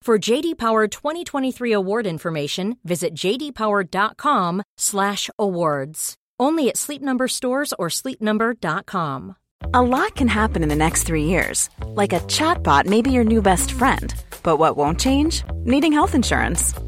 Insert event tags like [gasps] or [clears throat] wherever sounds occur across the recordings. For JD Power 2023 award information, visit jdpower.com/awards. Only at Sleep Number stores or sleepnumber.com. A lot can happen in the next three years. Like a chatbot may be your new best friend. But what won't change? Needing health insurance.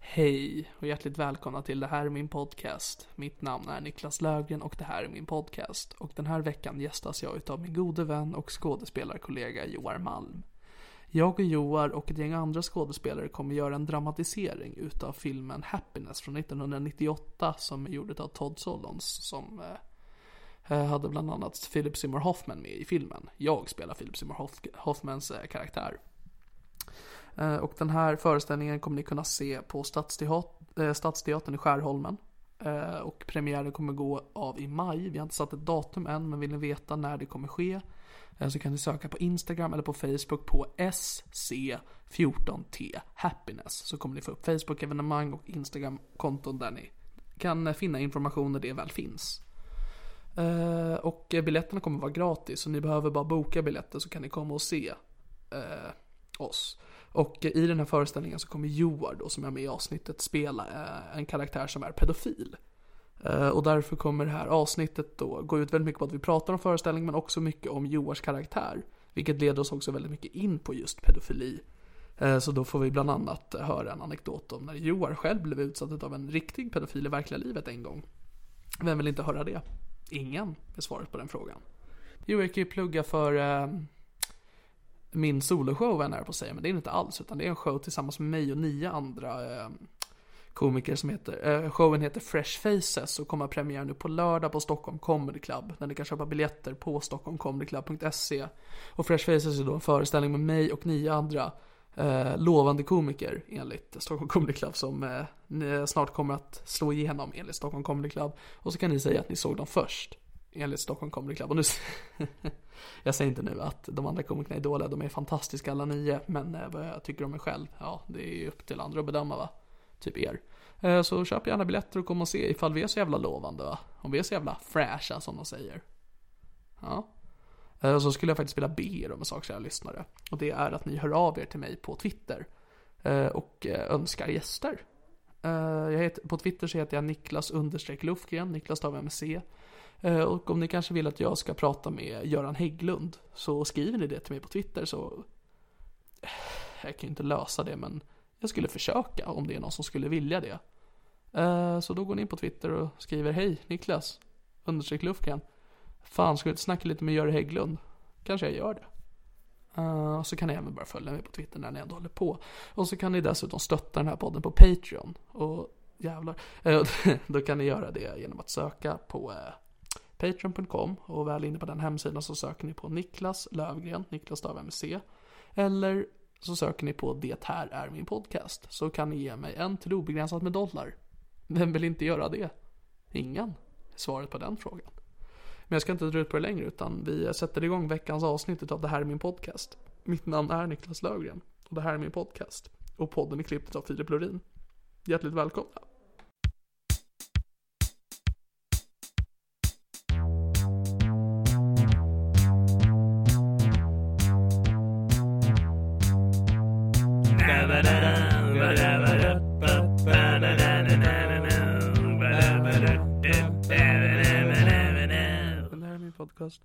Hej och hjärtligt välkomna till Det här är min podcast. Mitt namn är Niklas Lögren och det här är min podcast. Och den här veckan gästas jag utav min gode vän och skådespelarkollega Joar Malm. Jag och Joar och ett gäng andra skådespelare kommer göra en dramatisering utav filmen Happiness från 1998 som är gjord av Todd Solondz som eh, hade bland annat Philip Seymour Hoffman med i filmen. Jag spelar Philip Seymour Hoff- Hoffmans eh, karaktär. Eh, Och den här föreställningen kommer ni kunna se på Stadsteat- eh, Stadsteatern i Skärholmen. Eh, Och premiären kommer gå av i maj. Vi har inte satt ett datum än, men vill ni veta när det kommer ske eh, så kan ni söka på Instagram eller på Facebook på SC14T Happiness. Så kommer ni få upp Facebook-evenemang och Instagram-konton där ni kan eh, finna information när det väl finns. Eh, Och eh, biljetterna kommer vara gratis, så ni behöver bara boka biljetter så kan ni komma och se eh, oss. Och eh, i den här föreställningen så kommer Joar då, som är med i avsnittet, spela eh, en karaktär som är pedofil. Eh, Och därför kommer det här avsnittet då gå ut väldigt mycket på att vi pratar om föreställningen men också mycket om Joars karaktär. Vilket leder oss också väldigt mycket in på just pedofili. Eh, Så då får vi bland annat eh, höra en anekdot om när Joar själv blev utsatt av en riktig pedofil i verkliga livet en gång. Vem vill inte höra det? Ingen är svaret på den frågan. Jo, jag kan ju plugga för eh, min soloshow är jag nära på att säga, men det är det inte alls. Utan det är en show tillsammans med mig och nio andra eh, komiker som heter, eh, showen heter Fresh Faces och kommer att premiär nu på lördag på Stockholm Comedy Club. Där ni kan köpa biljetter på stockholmcomedyclub.se. Och Fresh Faces är då en föreställning med mig och nio andra eh, lovande komiker enligt Stockholm Comedy Club som eh, ni snart kommer att slå igenom enligt Stockholm Comedy Club. Och så kan ni säga att ni såg dem först enligt Stockholm Comedy Club. Och nu, [laughs] jag säger inte nu att de andra komikerna är dåliga, de är fantastiska alla nio, men eh, vad jag tycker om mig själv, ja, det är ju upp till andra att bedöma va, typ er. Eh, Så köp gärna biljetter och kom och se ifall vi är så jävla lovande va, om vi är så jävla fräscha som de säger. Ja. Eh, Och så skulle jag faktiskt vilja be er om en sak kära lyssnare, och det är att ni hör av er till mig på Twitter eh, och eh, önskar gäster. Eh, Jag heter, på Twitter så heter jag Niklas understreck Lufgren, Niklas stavar jag med C. Eh, Och om ni kanske vill att jag ska prata med Göran Hägglund så skriver ni det till mig på Twitter så eh, jag kan ju inte lösa det men jag skulle försöka om det är någon som skulle vilja det. Eh, Så då går ni in på Twitter och skriver hej Niklas, understreck Lufgren. Fan, ska du inte snacka lite med Göran Hägglund? Kanske jag gör det. Eh, Så kan ni även bara följa mig på Twitter när ni ändå håller på. Och så kan ni dessutom stötta den här podden på Patreon. Och jävlar, eh, [laughs] då kan ni göra det genom att söka på eh, Patreon.com och väl inne på den hemsidan så söker ni på Niklas Lövgren, Niklas stav med C. Eller så söker ni på Det här är min podcast. Så kan ni ge mig en till obegränsat med dollar. Vem vill inte göra det? Ingen. är Svaret på den frågan. Men jag ska inte dra ut på det längre utan vi sätter igång veckans avsnitt av Det här är min podcast. Mitt namn är Niklas Lövgren och det här är min podcast. Och podden är klippt av Filip Lorin. Hjärtligt välkomna. podcast.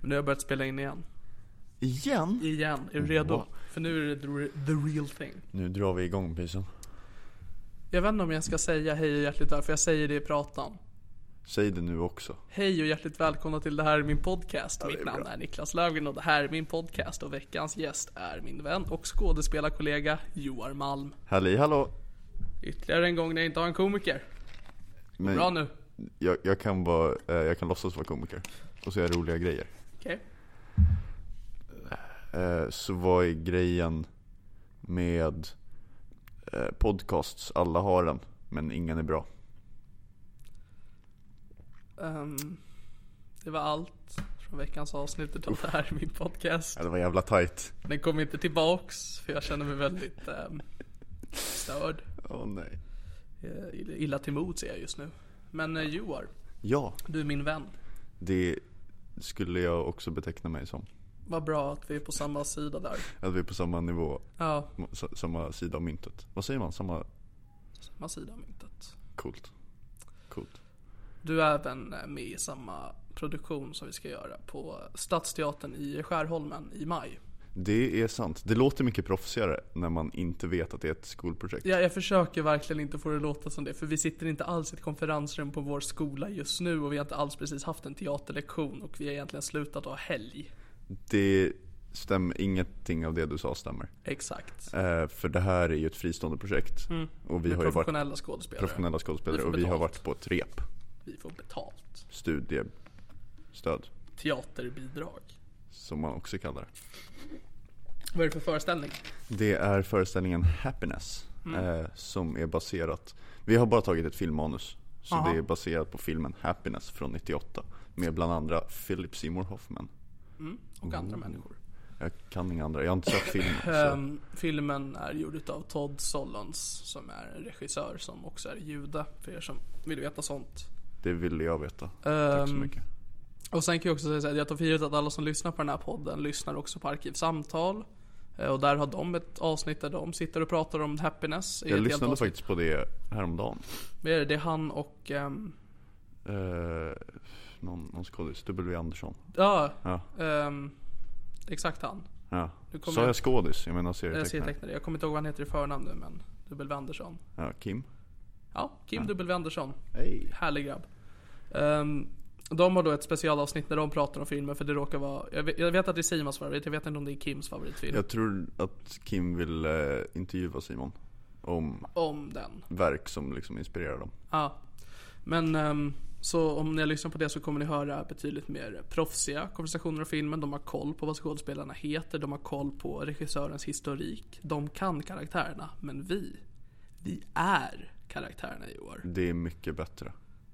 Men nu har jag börjat spela in igen. Mm. Igen? Igen, är du redo? Wow. För nu är det the re- the real thing. Nu drar vi igång pysen. Jag vet inte om jag ska säga hej och hjärtligt där, för jag säger det i pratan. Säg det nu också. Hej och hjärtligt välkomna till det här är min podcast. Mitt namn är Niklas Löfgren och det här är min podcast och veckans gäst är min vän och skådespelarkollega Joar Malm. Halli hallå! Ytterligare en gång när jag inte har en komiker. Men Bra nu. Jag, jag kan bara, eh, jag kan låtsas vara komiker. Och säga roliga grejer. Okej. Eh, Så vad är grejen med eh, podcasts? Alla har den, men ingen är bra. Ehm, det var allt från veckans avsnitt av det här är min podcast. Ja, det var jävla tight. Den kom inte tillbaks för jag känner mig väldigt ehm, störd. Åh nej. Eh, Illa till mods är jag just nu. Men eh, Joar, Ja, du är min vän. det skulle jag också beteckna mig som. Vad bra att vi är på samma sida där. Att vi är på samma nivå, Ja, s- samma sida av myntet. Vad säger man? Samma... samma sida av myntet. Coolt. Coolt. Du är även eh, med i samma produktion som vi ska göra på Stadsteatern i Skärholmen i maj. Det är sant. Det låter mycket proffsigare när man inte vet att det är ett skolprojekt. Ja, jag försöker verkligen inte få det att låta som det, för vi sitter inte alls i ett konferensrum på vår skola just nu och vi har inte alls precis haft en teaterlektion och vi har egentligen slutat ha helg. Det stämmer, ingenting av det du sa stämmer. Exakt. Eh, för det här är ju ett fristående projekt. Och vi Vi har ju Mm. varit professionella skådespelare. professionella skådespelare Vi får och vi har betalt. varit på ett rep. Vi får betalt. Studiestöd. Teaterbidrag. Som man också kallar det. Vad är det för föreställning? Det är föreställningen Happiness. Mm. Eh, som är baserat. Vi har bara tagit ett filmmanus. Så Aha. det är baserat på filmen Happiness från 98. Med bland andra Philip Seymour Hoffman. Och andra Mm. människor. Jag kan inga andra. Jag har inte sett filmen. Så. Ehm, filmen är gjord utav Todd Solons som är en regissör som också är jude, för er som vill veta sånt. Det ville jag veta. Tack så Ehm, mycket. Och sen kan jag också säga så här, jag tar för givet att alla som lyssnar på den här podden lyssnar också på Arkivsamtal. Eh, Och där har de ett avsnitt där de sitter och pratar om happiness. i ett Jag helt lyssnade avsnitt. faktiskt på det häromdagen. Vad är det? Det är han och... ehm, Eh, någon någon skådis. W Andersson. ja, Ja. ehm, exakt han. Ja. Nu kommer Sa jag- jag skådis? Jag menar Jag serietecknare. serietecknare. Jag kommer inte ihåg vad han heter i förnamn nu men W Andersson. Ja, Kim. Ja, Kim W Andersson. Hej. Härlig grabb. Ehm, de har då ett specialavsnitt när de pratar om filmen för det råkar vara, jag vet, jag vet att det är Simons favorit, jag vet inte om det är Kims favoritfilm. Jag tror att Kim vill eh, intervjua Simon. Om Om den. verk som liksom inspirerar dem. Ja. Men ehm, så om ni lyssnar på det så kommer ni höra betydligt mer proffsiga konversationer om filmen. De har koll på vad skådespelarna heter, de har koll på regissörens historik. De kan karaktärerna, men vi, vi är karaktärerna i år. Det är mycket bättre.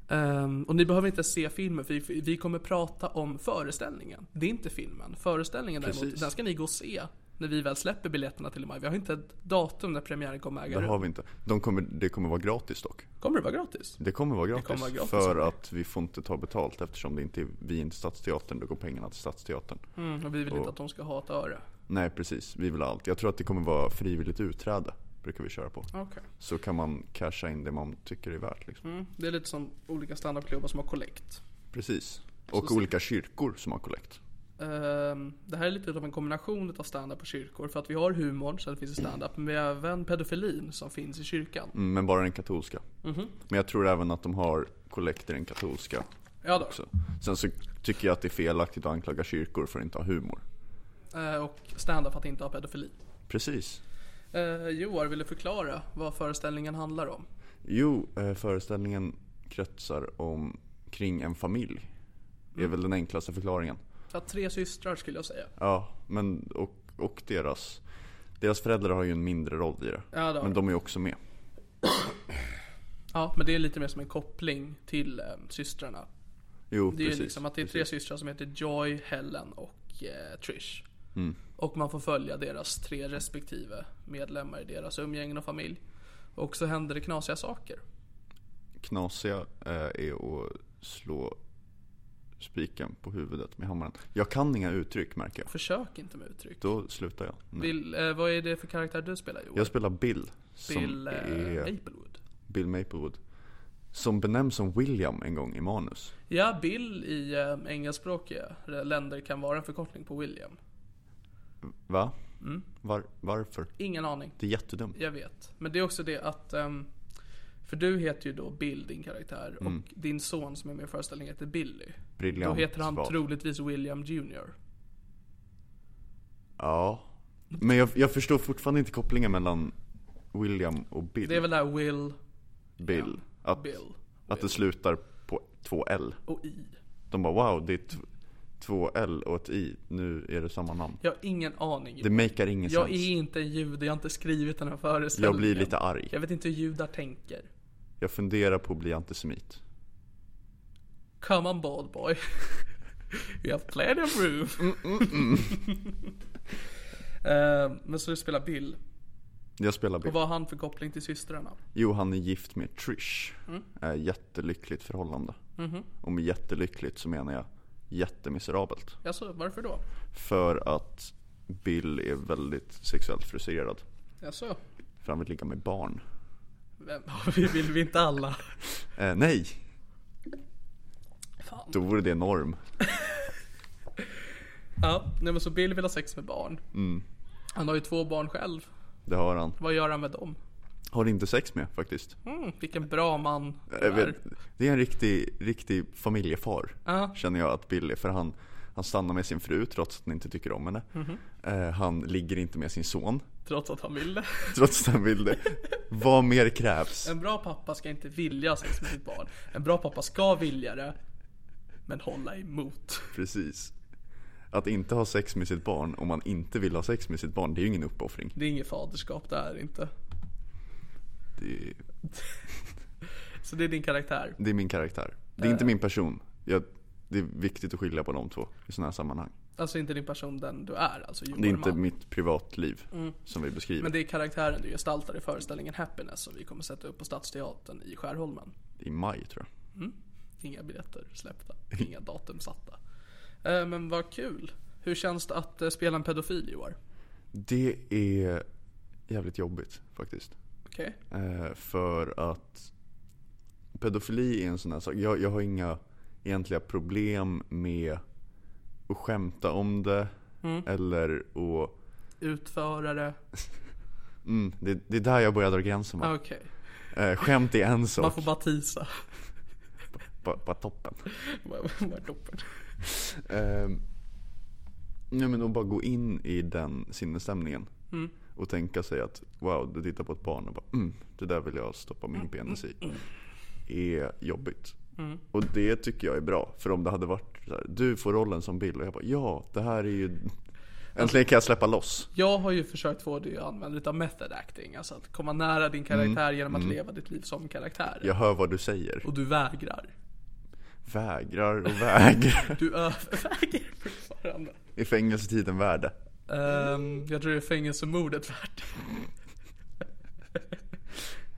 Ehm, och ni behöver inte se filmen, för vi, vi kommer prata om föreställningen. Det är inte filmen. Föreställningen däremot, Precis. den ska ni gå och se när vi väl släpper biljetterna till i maj. Vi har inte ett datum när premiären kommer äga Det har rum. vi inte. De kommer, det kommer vara gratis dock. Kommer det vara gratis? Det kommer vara gratis. kommer vara gratis, för okej. att vi får inte ta betalt eftersom det inte är, vi är inte Stadsteatern. Då går pengarna till Stadsteatern. Mm, och vi vill inte att de ska ha ett öre. Nej precis, vi vill ha allt. Jag tror att det kommer vara frivilligt utträde. Brukar vi köra på. Okej. Så kan man casha in det man tycker är värt. Liksom. Mm, det är lite som olika standupklubbar som har kollekt. Precis. Och olika kyrkor som har kollekt. Ehm, det här är lite av en kombination av standup och kyrkor. För att vi har humorn, så det finns i standup. Men vi har även pedofilin som finns i kyrkan. Mm, Men bara den katolska. Mhm. Men jag tror även att de har kollekt i den katolska Ja då. också. Sen så tycker jag att det är felaktigt att anklaga kyrkor för att inte ha humor. Eh, och standup för att inte ha pedofili. Precis. Uh, Joar, vill du förklara vad föreställningen handlar om? Jo, eh, föreställningen kretsar om, kring en familj. Mm. Det är väl den enklaste förklaringen. Ja, tre systrar skulle jag säga. Ja, men och, och deras, deras föräldrar har ju en mindre roll i det. Ja, det har men de. de är ju också med. Ja, men det är lite mer som en koppling till um, systrarna. Jo, Det är precis. ju liksom att det är tre systrar som heter Joy, Helen och eh, Trish. Mm. Och man får följa deras tre respektive medlemmar i deras umgängen och familj. Och så händer det knasiga saker. knasiga eh, är att slå spiken på huvudet med hammaren. Jag kan inga uttryck märker jag. Försök inte med uttryck. Då slutar jag. Nej. Vill, eh, vad är det för karaktär du spelar Joar? Jag spelar Bill. som Bill eh, är Maplewood. Bill Maplewood. Som benämns som William en gång i manus. Ja, Bill i eh, engelskspråkiga länder kan vara en förkortning på William. Va? Mm. Var, varför? Ingen aning. Det är jättedumt. Jag vet. Men det är också det att... ehm, för du heter ju då Bill, din karaktär. Mm. Och din son som är med i föreställningen heter Billy. Briljant Då heter han svar. troligtvis William Jr. Ja. Men jag, jag förstår fortfarande inte kopplingen mellan William och Bill. Det är väl det här Will, Bill. Att, Bill att det slutar på två L. och I. De bara wow, det är t- två L och ett I. Nu är det samma namn. Jag har ingen aning. Det makar ingen jag sens. är inte en jude, jag har inte skrivit den här föreställningen. Jag blir lite arg. Jag vet inte hur judar tänker. Jag funderar på att bli antisemit. Come on bad boy. [laughs] We have plenty of room. Mm, [laughs] Eh, men så du spelar Bill. Jag spelar Bill. Och vad har han för koppling till systrarna? Jo, han är gift med Trish. Mm. Eh, Jättelyckligt förhållande. Mhm. Och med jättelyckligt så menar jag jättemiserabelt. Jaså, varför då? För att Bill är väldigt sexuellt frustrerad. Jaså? För han vill ligga med barn. Vem? [laughs] Vi vill vi inte alla? Eh, nej! Fan. Då vore det norm. Ja, nej men så Bill vill ha sex med barn. Mm. Han har ju två barn själv. Det har han. Vad gör han med dem? Har inte sex med faktiskt. Mm, vilken bra man du Jag vet, är. det är en riktig, riktig familjefar. Ja. Känner jag att Bill är. För han, han stannar med sin fru trots att han inte tycker om henne. Mhm. Eh, han ligger inte med sin son. [laughs] Trots att han vill det. Trots att han vill det. Vad mer krävs? En bra pappa ska inte vilja ha sex med sitt barn. En bra pappa ska vilja det. Men hålla emot. Precis. Att inte ha sex med sitt barn om man inte vill ha sex med sitt barn, det är ju ingen uppoffring. Det är inget faderskap det är inte. Det är, Så det är din karaktär. det är min karaktär. Det är Eh. inte min person. Jag, det är viktigt att skilja på de två i sådana här sammanhang. Alltså inte din person, den du är. Alltså Johan Det är inte Malm. mitt privatliv som vi beskriver. Mm. Men det är karaktären du gestaltar i föreställningen Happiness som vi kommer sätta upp på Stadsteatern i Skärholmen. I maj tror jag. Inga biljetter släppta, inga datum satta. Eh, Men vad kul. Hur känns det att eh, spela en pedofil i år? Det är jävligt jobbigt faktiskt. Okej? Eh, för att pedofili är en sån här sak. Jag, jag har inga egentliga problem med att skämta om det. Eller att... Utförare? Mm, det, det är där jag börjar dra gränsen. Ah, va? Okej. Eh, skämt är en sak. Man får bara tisa. Bara bara toppen. Bara toppen. Eh, nej men att bara gå in i den sinnesstämningen. Mm. Och tänka sig att wow, du tittar på ett barn och bara mm, det där vill jag stoppa Mm. min penis i. Är jobbigt. Och det tycker jag är bra. För om det hade varit så här, du får rollen som Bill och jag bara ja, det här är ju... Äntligen kan jag släppa loss. [laughs] Jag har ju försökt få dig att använda lite av method acting, alltså att komma nära din karaktär genom att leva ditt liv som karaktär. Jag hör vad du säger. Och du vägrar. Vägrar och vägrar. Du [laughs] överväger fortfarande. Är fängelsetiden värd det? Ehm, jag tror det är fängelsemordet värt.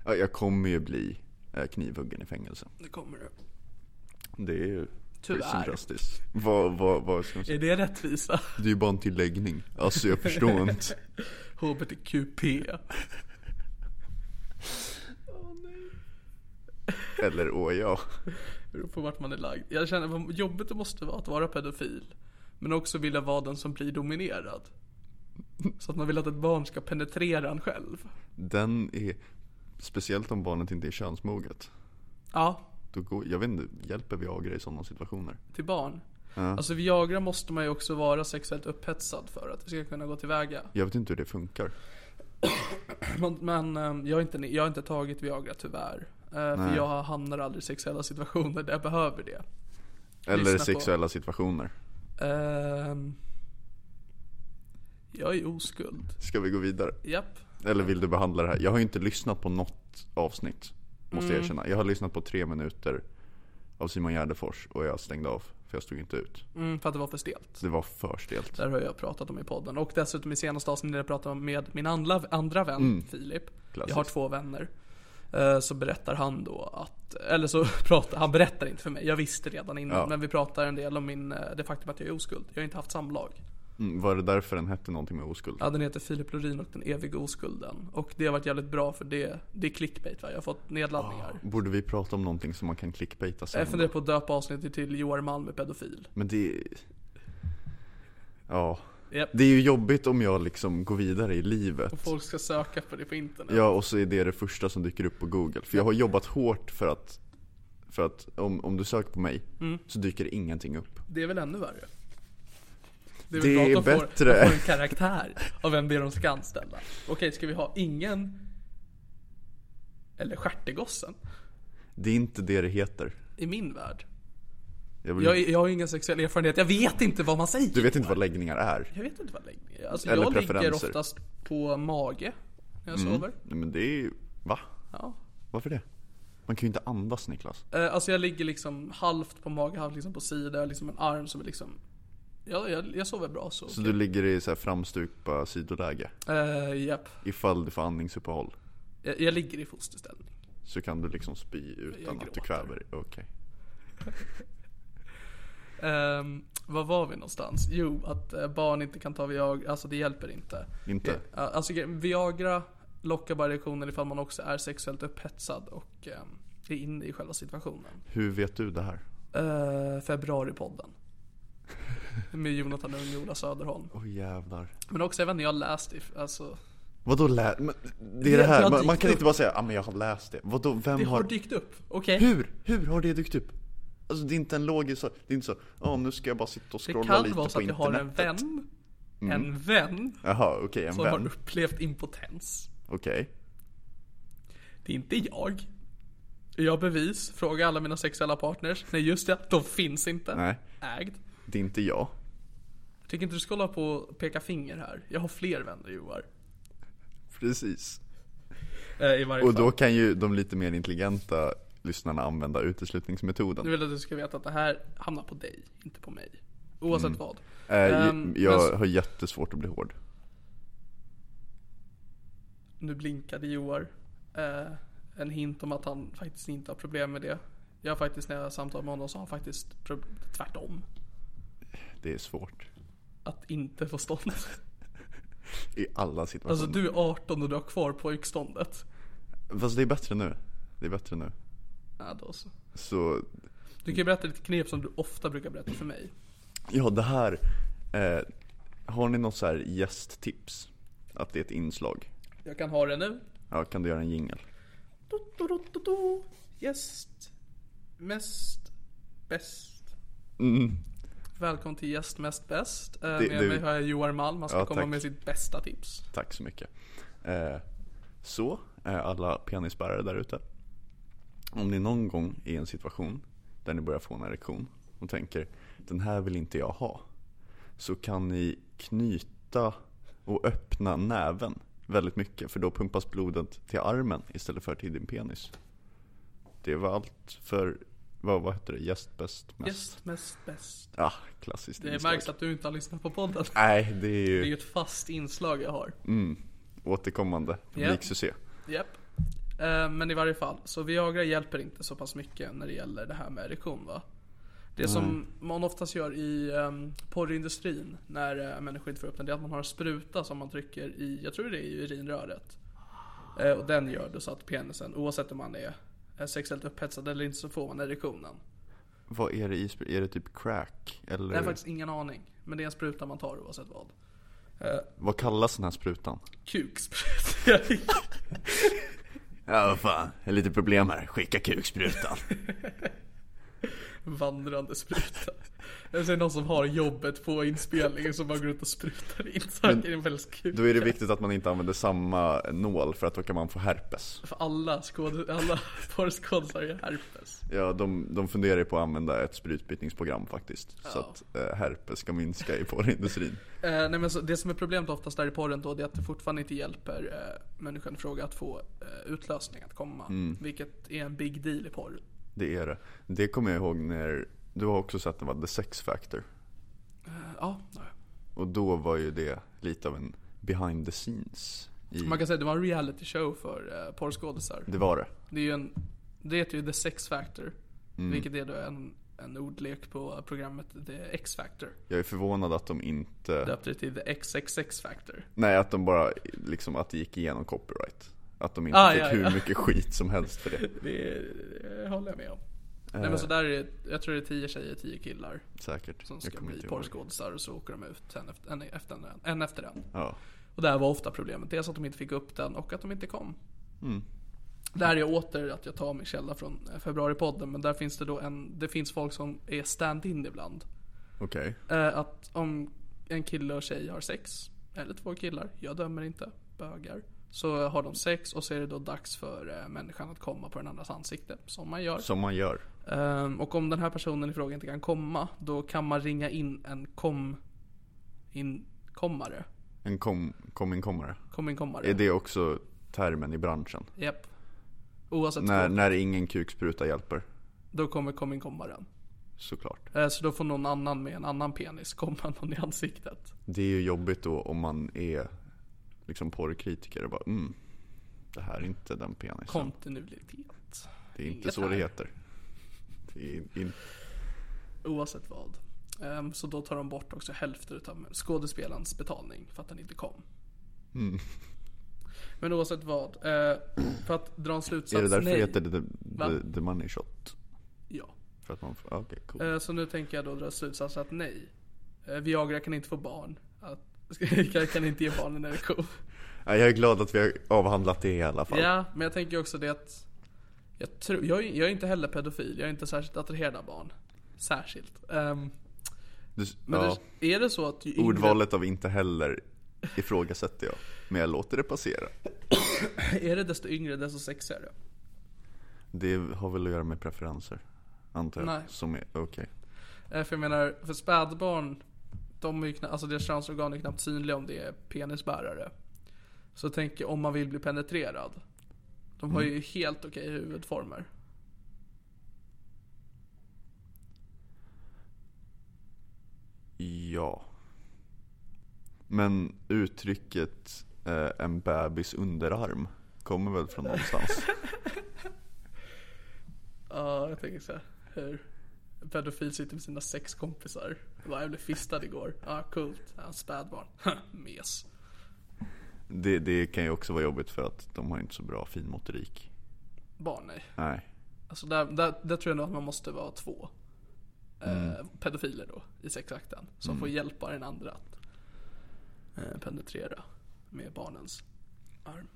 Ja, Jag kommer ju bli eh, knivhuggen i fängelse. Nu kommer du. Det är ju prison Tyvärr. justice. Vad, vad, vad ska man säga? Är det rättvisa? [laughs] Det är ju bara en tilläggning. Alltså jag förstår inte. HBTQP. Eller åh ja. Beror på vart man är lagd. Jag känner vad jobbigt det måste vara att vara pedofil. Men också vilja vara den som blir dominerad. Så att man vill att ett barn ska penetrera en själv. Den är, speciellt om barnet inte är könsmoget. Ja, Då går, jag vet inte, hjälper Viagra i sådana situationer? till barn. Alltså Viagra måste man ju också vara sexuellt upphetsad för att vi ska kunna gå tillväga. [clears throat] Jag vet inte hur det funkar. Men, men ehm, jag, har inte, jag har inte tagit Viagra tyvärr. Eh, För Nej. jag hamnar aldrig i sexuella situationer där jag behöver det. Eller Lyssna på- sexuella situationer. Ehm, jag är oskuld. Ska vi gå vidare? Japp. Eller vill du behandla det här? Jag har ju inte lyssnat på något avsnitt. Måste Mm. jag erkänna. Jag har lyssnat på tre minuter av Simon Gärdefors och jag stängde av. För jag stod inte ut. Mm, för att det var för stelt. Det var för stelt. Där har jag pratat om i podden. Och dessutom i senaste avsnittet jag pratade med min andra, andra vän Filip. Jag har två vänner. Eh, Så berättar han då att, eller så [laughs] pratar, han berättar inte för mig, jag visste redan innan. Ja. Men vi pratar en del om min, eh, det faktum att jag är oskuld. Jag har inte haft samlag. Mm, var det därför den hette någonting med oskuld? Ja, den heter Filip Lorin och den eviga oskulden. Och det har varit jävligt bra för det, det är clickbait va? Jag har fått nedladdningar. Borde vi prata om någonting som man kan clickbaita sen? Jag funderar på att döpa avsnittet till Joar Malm är pedofil. Men det... Ja. Japp. Det är ju jobbigt om jag liksom går vidare i Och livet. folk ska söka på det på internet. Ja, och så är det det första som dyker upp på google. För jag har jobbat hårt för att, för att om, om du söker på mig Mm. så dyker ingenting upp. Det är väl ännu värre? Det är, Det väl bra är att de får, bättre. de får en karaktär av vem det är de ska anställa. Okej, ska vi ha ingen... Eller stjärtegossen? Det är inte det det heter. I min värld. Jag vill, Jag, jag har ju ingen sexuell erfarenhet, jag vet inte vad man säger. Du vet inte vad läggningar är? Jag vet inte vad läggning är. Alltså Eller jag ligger preferenser. Mm. oftast på mage när jag sover. Nej, men det är ju... Va? Ja. Varför det? Man kan ju inte andas Niklas. Eh, Alltså jag ligger liksom halvt på mage, halvt liksom på sida, jag har liksom en arm som är liksom... Ja, jag, jag sover bra så. Så du ligger i så här framstupa sidoläge. Eh, japp. Ifall du får andningsuppehåll Jag, jag ligger i fosterställning. så kan du liksom spy utan att du gråter. kväver dig. Okej. Um, var var vi någonstans? Jo, att eh, barn inte kan ta Viagra, alltså det hjälper inte. Inte? Eh, alltså gre- Viagra lockar bara reaktioner ifall man också är sexuellt upphetsad och ehm, är inne i själva situationen. Hur vet du det här? Uh, februaripodden. [laughs] Med Jonathan Ung och Ola Söderholm. Åh jävlar. Men också, jag vet inte, jag har läst det, alltså. Vadå lä... men Det Det- är det det har här, man, dykt man kan upp. inte bara säga ah, men jag har läst det. Vadå, vem Det har... har dykt upp, okej. Hur? Hur har det dykt upp? Alltså det är inte en logisk sak. Det är inte så, ja nu ska jag bara sitta och Det scrolla lite på kan internet. vara så att jag har en vän. En vän Jaha, okej, som en har vän. upplevt impotens. Okej. Det är inte jag. Är Jag bevis, fråga alla mina sexuella partners. Nej just det, de finns inte. Nej, Ägd. det är inte jag. Jag tycker inte du ska hålla på och peka finger här. Jag har fler vänner Joar. Precis. Eh, I varje Och fall. då kan ju de lite mer intelligenta lyssnarna använda uteslutningsmetoden. Nu vill jag att du ska veta att det här hamnar på dig, inte på mig. Oavsett vad. Eh, j- Ehm, men jag s- har jättesvårt att bli hård. Nu blinkade Joar. Eh, en hint om att han faktiskt inte har problem med det. Jag har faktiskt när jag samtalade med honom så har han faktiskt pro- tvärtom. Det är svårt. Att inte få ståndet. I alla situationer. Alltså du är 18 och du har kvar pojkståndet. Fast det är bättre nu. Det är bättre nu. Ja, då så. Så, Du kan ju berätta lite knep som du ofta brukar berätta för mig. ja det här. Eh, har ni något så här gästtips? Att det är ett inslag? Jag kan ha det nu. Ja, kan du göra en jingel? Do, do, do, do, do. Gäst. Mest. Bäst. Mm. Välkommen till Gäst mest bäst. Eh, Det- med det- mig har jag Joar Malm. Han ska Ja, komma tack. med sitt bästa tips. Tack så mycket. Eh, så, eh, alla penisbärare där ute. Om ni någon gång är i en situation där ni börjar få en erektion och tänker den här vill inte jag ha. Så kan ni knyta och öppna näven väldigt mycket för då pumpas blodet till armen istället för till din penis. Det var allt för, vad, vad heter det, gäst bäst mest? Gäst mest bäst. Ja, klassiskt Det inslag. märks att du inte har lyssnat på podden. Nej, det är Det är ju ju ett fast inslag jag har. återkommande publiksuccé. Japp. Eh, Men i varje fall, så Viagra hjälper inte så pass mycket när det gäller det här med erektion va? Det som man oftast gör i um, porrindustrin när eh, människor inte får upp den, det är att man har en spruta som man trycker i, jag tror det är i urinröret. Eh, och den gör då så att penisen, oavsett om man är eh, sexuellt upphetsad eller inte, så får man erektionen. Vad är det i spr- Är det typ crack? Eller Jag har faktiskt ingen aning, men det är en spruta man tar oavsett vad. Eh, vad kallas den här sprutan? Kukspruta. [laughs] Ja vad fan, jag har lite problem här. Skicka kuksprutan. Vandrande spruta. Eller så är det någon som har jobbet på inspelningen som bara går ut och sprutar in Men saker i en väldigt kul. [laughs] Då är det viktigt att man inte använder samma nål för att då kan man få herpes. För alla, skåd- alla porrskådisar är herpes. Ja, de, de funderar ju på att använda ett sprutbytningsprogram faktiskt. Så Ja. att eh, herpes ska minska i porrindustrin. [laughs] Eh, nej men så, det som är problemet oftast där i porren då det är att det fortfarande inte hjälper eh, människan i fråga att få eh, utlösning att komma. Mm. Vilket är en big deal i porr. Det är det. Det kommer jag ihåg när, du har också sett det var The Sex Factor. Eh, ja, nej. Och då var ju det lite av en behind the scenes. I, man kan säga att det var en reality show för eh, porrskådisar. det var det. Mm. Det är ju en, det heter ju The Sex Factor. Vilket är då en en ordlek på programmet The X-Factor. Jag är förvånad att de inte, Döpte det till The XXX-Factor. nej att de bara liksom att det gick igenom copyright. Att de inte Ah, fick ja, hur ja. mycket skit som helst [laughs] för det. Det eh, håller jag med om. Nej men så där är det, jag tror det är tio tjejer, tio killar Säkert. som Eh. Jag ska kommer bli inte ihåg. porrskådisar och så åker de ut en efter en, efter en, en, efter en. Ja. Och där var ofta problemet, dels att de inte fick upp den och att de inte kom. Mm. Där är jag åter att jag tar min källa från eh, februaripodden, men där finns det då en, det finns folk som är stand-in ibland. Okej. Eh, att om en kille och tjej har sex, eller två killar, jag dömer inte, bögar. Så har de sex och så är det då dags för eh, människan att komma på den andras ansikte, som man gör. Som man gör. Ehm, och om den här personen i fråga inte kan komma, då kan man ringa in en kom... Inkommare. En kom, kom inkommare. Kom-inkommare. Är det också termen i branschen? Japp. Oavsett När, Nej. när ingen kukspruta hjälper. då kommer kom-inkommaren. Såklart. Eh, så då får någon annan med en annan penis komma någon i ansiktet. Det är ju jobbigt då om man är liksom porrkritiker och bara mm. Det här är inte den penisen. Kontinuitet. det är inte inget så det här. heter. Det är in, Oavsett vad. Ehm, så då tar de bort också hälften av skådespelarens betalning för att den inte kom. Mm. Men oavsett vad. eh, för att dra en slutsats. är det därför nej. det heter the, Va? the, the money shot? Ja. För att man får, ah, okej cool. Eh, Så nu tänker jag då dra slutsatsen att nej. Eh, Viagra kan inte få barn. Att, [laughs] kan- kan inte ge barn en erektion. Nej, jag är glad att vi har avhandlat det i alla fall. Ja, men jag tänker också det att jag, tror, jag, är- jag är inte heller pedofil, jag är inte särskilt attraherad av barn. Särskilt. Ehm, Du, men ja. det, är det så att ju yngre... Ordvalet av inte heller ifrågasätter jag. Men jag låter det passera. [laughs] Är det desto yngre, desto sexigare? Det har väl att göra med preferenser. Antar jag. Nej. Som är, okej. Eh, För jag menar, för spädbarn, de är ju knappt, alltså deras könsorgan är knappt synliga om det är penisbärare. Så tänk om man vill bli penetrerad. De har ju helt okej huvudformer. Ja. Men uttrycket eh, en bebis underarm kommer väl [laughs] från någonstans? Ja, jag tänker så här, hur? En pedofil sitter med sina sex kompisar. Jag Bara, jag blev fistad igår. Ja, ah, coolt. Ja, spädbarn. [laughs] Mes. det, det kan ju också vara jobbigt för att de har inte så bra finmotorik. Barn, nej. Nej. Alltså där, där, där tror jag nog att man måste vara två eh, pedofiler då i sexakten. Som får hjälpa den andra att eh, penetrera med barnens arm.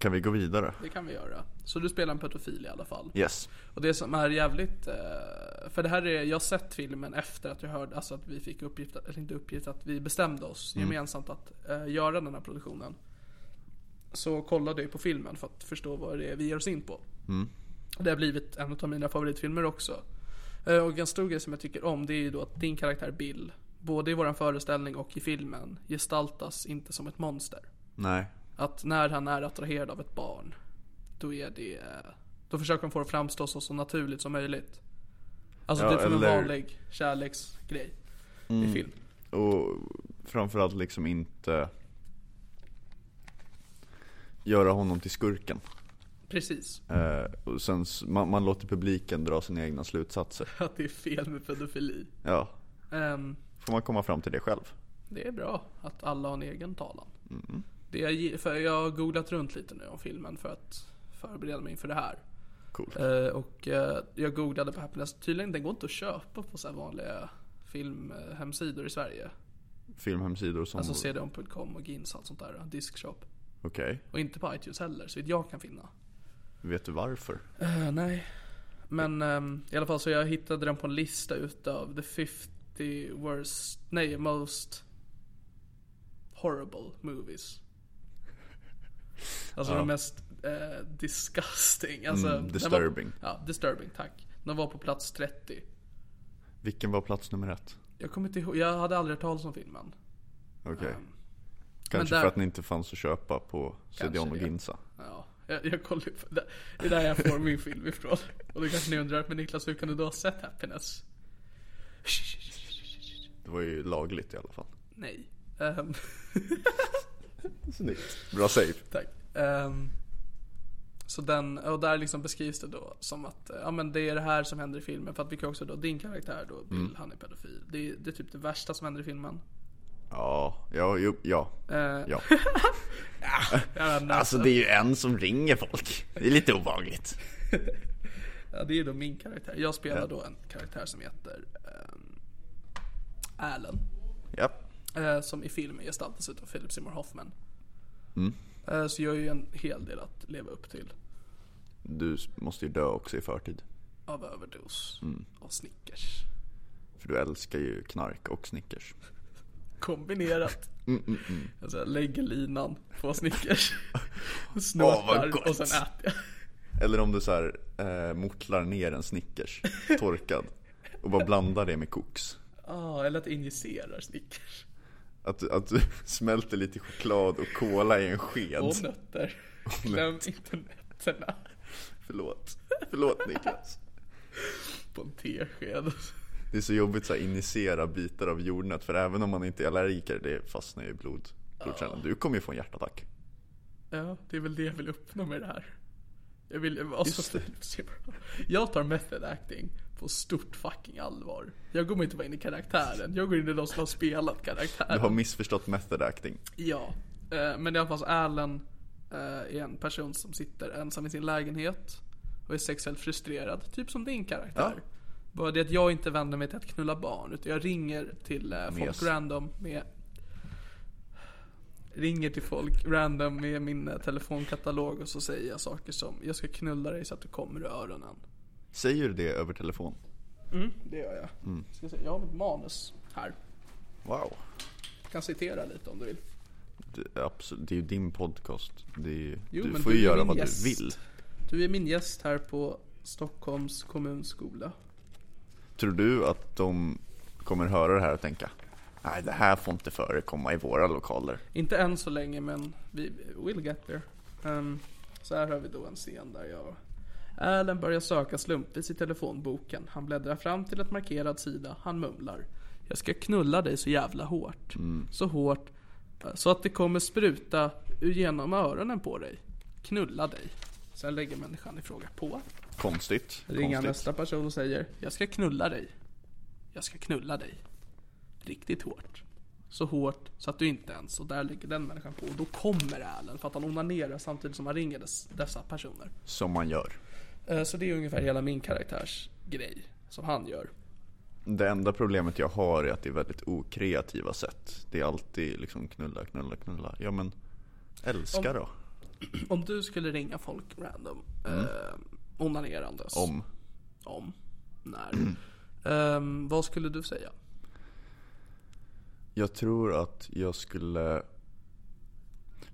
Kan vi gå vidare? Det kan vi göra. Så du spelar en pedofil i alla fall. Yes. Och det som är jävligt, eh, för det här är, jag har sett filmen efter att jag hörde, alltså att vi fick uppgift, eller inte uppgift, att vi bestämde oss gemensamt att eh, göra den här produktionen. Så kollade jag på filmen för att förstå vad det är vi ger oss in på. Det har blivit en av mina favoritfilmer också. Eh, Och en stor grej som jag tycker om det är ju då att din karaktär Bill, både i våran föreställning och i filmen, gestaltas inte som ett monster. Nej. Att när han är attraherad av ett barn, då är det... Då försöker han få det att framstå så, så naturligt som möjligt. Alltså Ja, typ som eller- Mm. en vanlig kärleksgrej i film. Och framförallt liksom inte göra honom till skurken. Precis. [laughs] Eh, och sen, s- man, man låter publiken dra sina egna slutsatser. Att det är fel med pedofili. Ja. Ehm, Får man komma fram till det själv? det är bra att alla har en egen talan. Mm. Det jag, ge- för jag har googlat runt lite nu om filmen för att förbereda mig inför det här. Coolt. Eh, och eh, jag googlade på Happiness. Tydligen den går inte att köpa på så här vanliga filmhemsidor i Sverige. Filmhemsidor som... Alltså cdon.com och Gins och allt sånt där. Diskshop. Okej. Och inte på iTunes heller, så vitt jag kan finna. Vet du varför? Eh, nej. Men ehm, i alla fall så jag hittade den på en lista utav the 50 worst, nej most horrible movies. Alltså de mest eh, disgusting. Alltså, Mm, den var- disturbing. ja, disturbing, tack. De var på plats 30. Vilken var plats nummer ett? Jag kommer inte ihåg, jag hade aldrig hört talas om filmen. Okej. Kanske men där- för att den inte fanns att köpa på CDON och det. Ginza. Ja, jag, jag kollar upp, det det är där jag får min film ifrån. Och då kanske ni undrar, men Niklas hur kan du då ha sett Happiness? Det var ju lagligt i alla fall. Nej. Ehm, [laughs] Snyggt. Bra save. tack. Ehm, Så den, och där liksom beskrivs det då som att eh, ja, men det är det här som händer i filmen. För att vi kan också då, din karaktär då, Bill, han är pedofil. Det, är- det är typ det värsta som händer i filmen. Ja, ja, jo, ja. ja. Ja, men, Alltså det är ju en som ringer folk. Det är lite obehagligt. ja, det är då min karaktär. Jag spelar då en karaktär som heter eh, Alan. Ja. Eh, som i filmen gestaltas av Philip Seymour Hoffman. Mm. Eh, så jag har ju en hel del att leva upp till. Du måste ju dö också i förtid. Av överdos Mm. och Snickers. För du älskar ju knark och Snickers. [laughs] Kombinerat. Mm, Alltså jag lägger linan på [laughs] Snickers. Snortar gott. och sen äter jag. Eller om du så här, eh, mortlar ner en Snickers, torkad. Och bara blandar det med koks. Ah, eller att jag injicerar Snickers. Att, du- att du [laughs] smälter lite choklad och kola i en sked. Och nötter. [laughs] Glöm inte nötterna. Förlåt. Förlåt Niklas. På en tesked. Det är så jobbigt att injicera bitar av jordnöt för även om man inte är allergiker, det fastnar ju i blod, blodkärlen. Du kommer ju få en hjärtattack. Ja, det är väl det jag vill uppnå med det här. Jag vill... Alltså, det. jag tar method acting på stort fucking allvar. Jag går inte bara in i karaktären. Jag går in i de som har spelat karaktären. Du har missförstått method acting. Ja, eh, men i alla fall så Alan eh, är en person som sitter ensam i sin lägenhet och är sexuellt frustrerad, typ som din karaktär. Ja. Bara det att jag inte vänder mig till att knulla barn, utan jag ringer till eh, folk Mes. random med Ringer till folk random med min eh, telefonkatalog och så säger jag saker som Jag ska knulla dig så att du kommer i öronen. Säger du det över telefon? Det gör jag. Ska jag, se, jag har mitt manus här. Wow. Jag kan citera lite om du vill. Det är, absolut, det är ju din podcast. Det är, ju- Jo, du men får du ju är göra min vad gäst. du vill. Du är min gäst här på Stockholms kommunskola. Tror du att de kommer höra det här och tänka Nej, det här får inte förekomma i våra lokaler. Inte än så länge, men vi will get there. Ehm, så här har vi då en scen där jag... Alan börjar söka slumpvis i telefonboken. Han bläddrar fram till ett markerad sida. Han mumlar. Jag ska knulla dig så jävla hårt. Mm. Så hårt eh, så att det kommer spruta ur genom öronen på dig. Knulla dig. Sen lägger människan i fråga på. Konstigt. Ringer konstigt. nästa person och säger Jag ska knulla dig. Jag ska knulla dig. Riktigt hårt. Så hårt så att du inte ens, och där ligger den människan på. Och då kommer Alan för att han onanerar samtidigt som han ringer des, dessa personer. Som man gör. Eh, Så det är ungefär hela min karaktärs grej som han gör. [clears throat] Det enda problemet jag har är att det är väldigt okreativa sätt. Det är alltid liksom knulla, knulla, knulla. Ja men, älska då. Om du skulle ringa folk random, eh, onanerandes. Mm. Om. Om. När. [clears throat] Ehm, vad skulle du säga? Jag tror att jag skulle...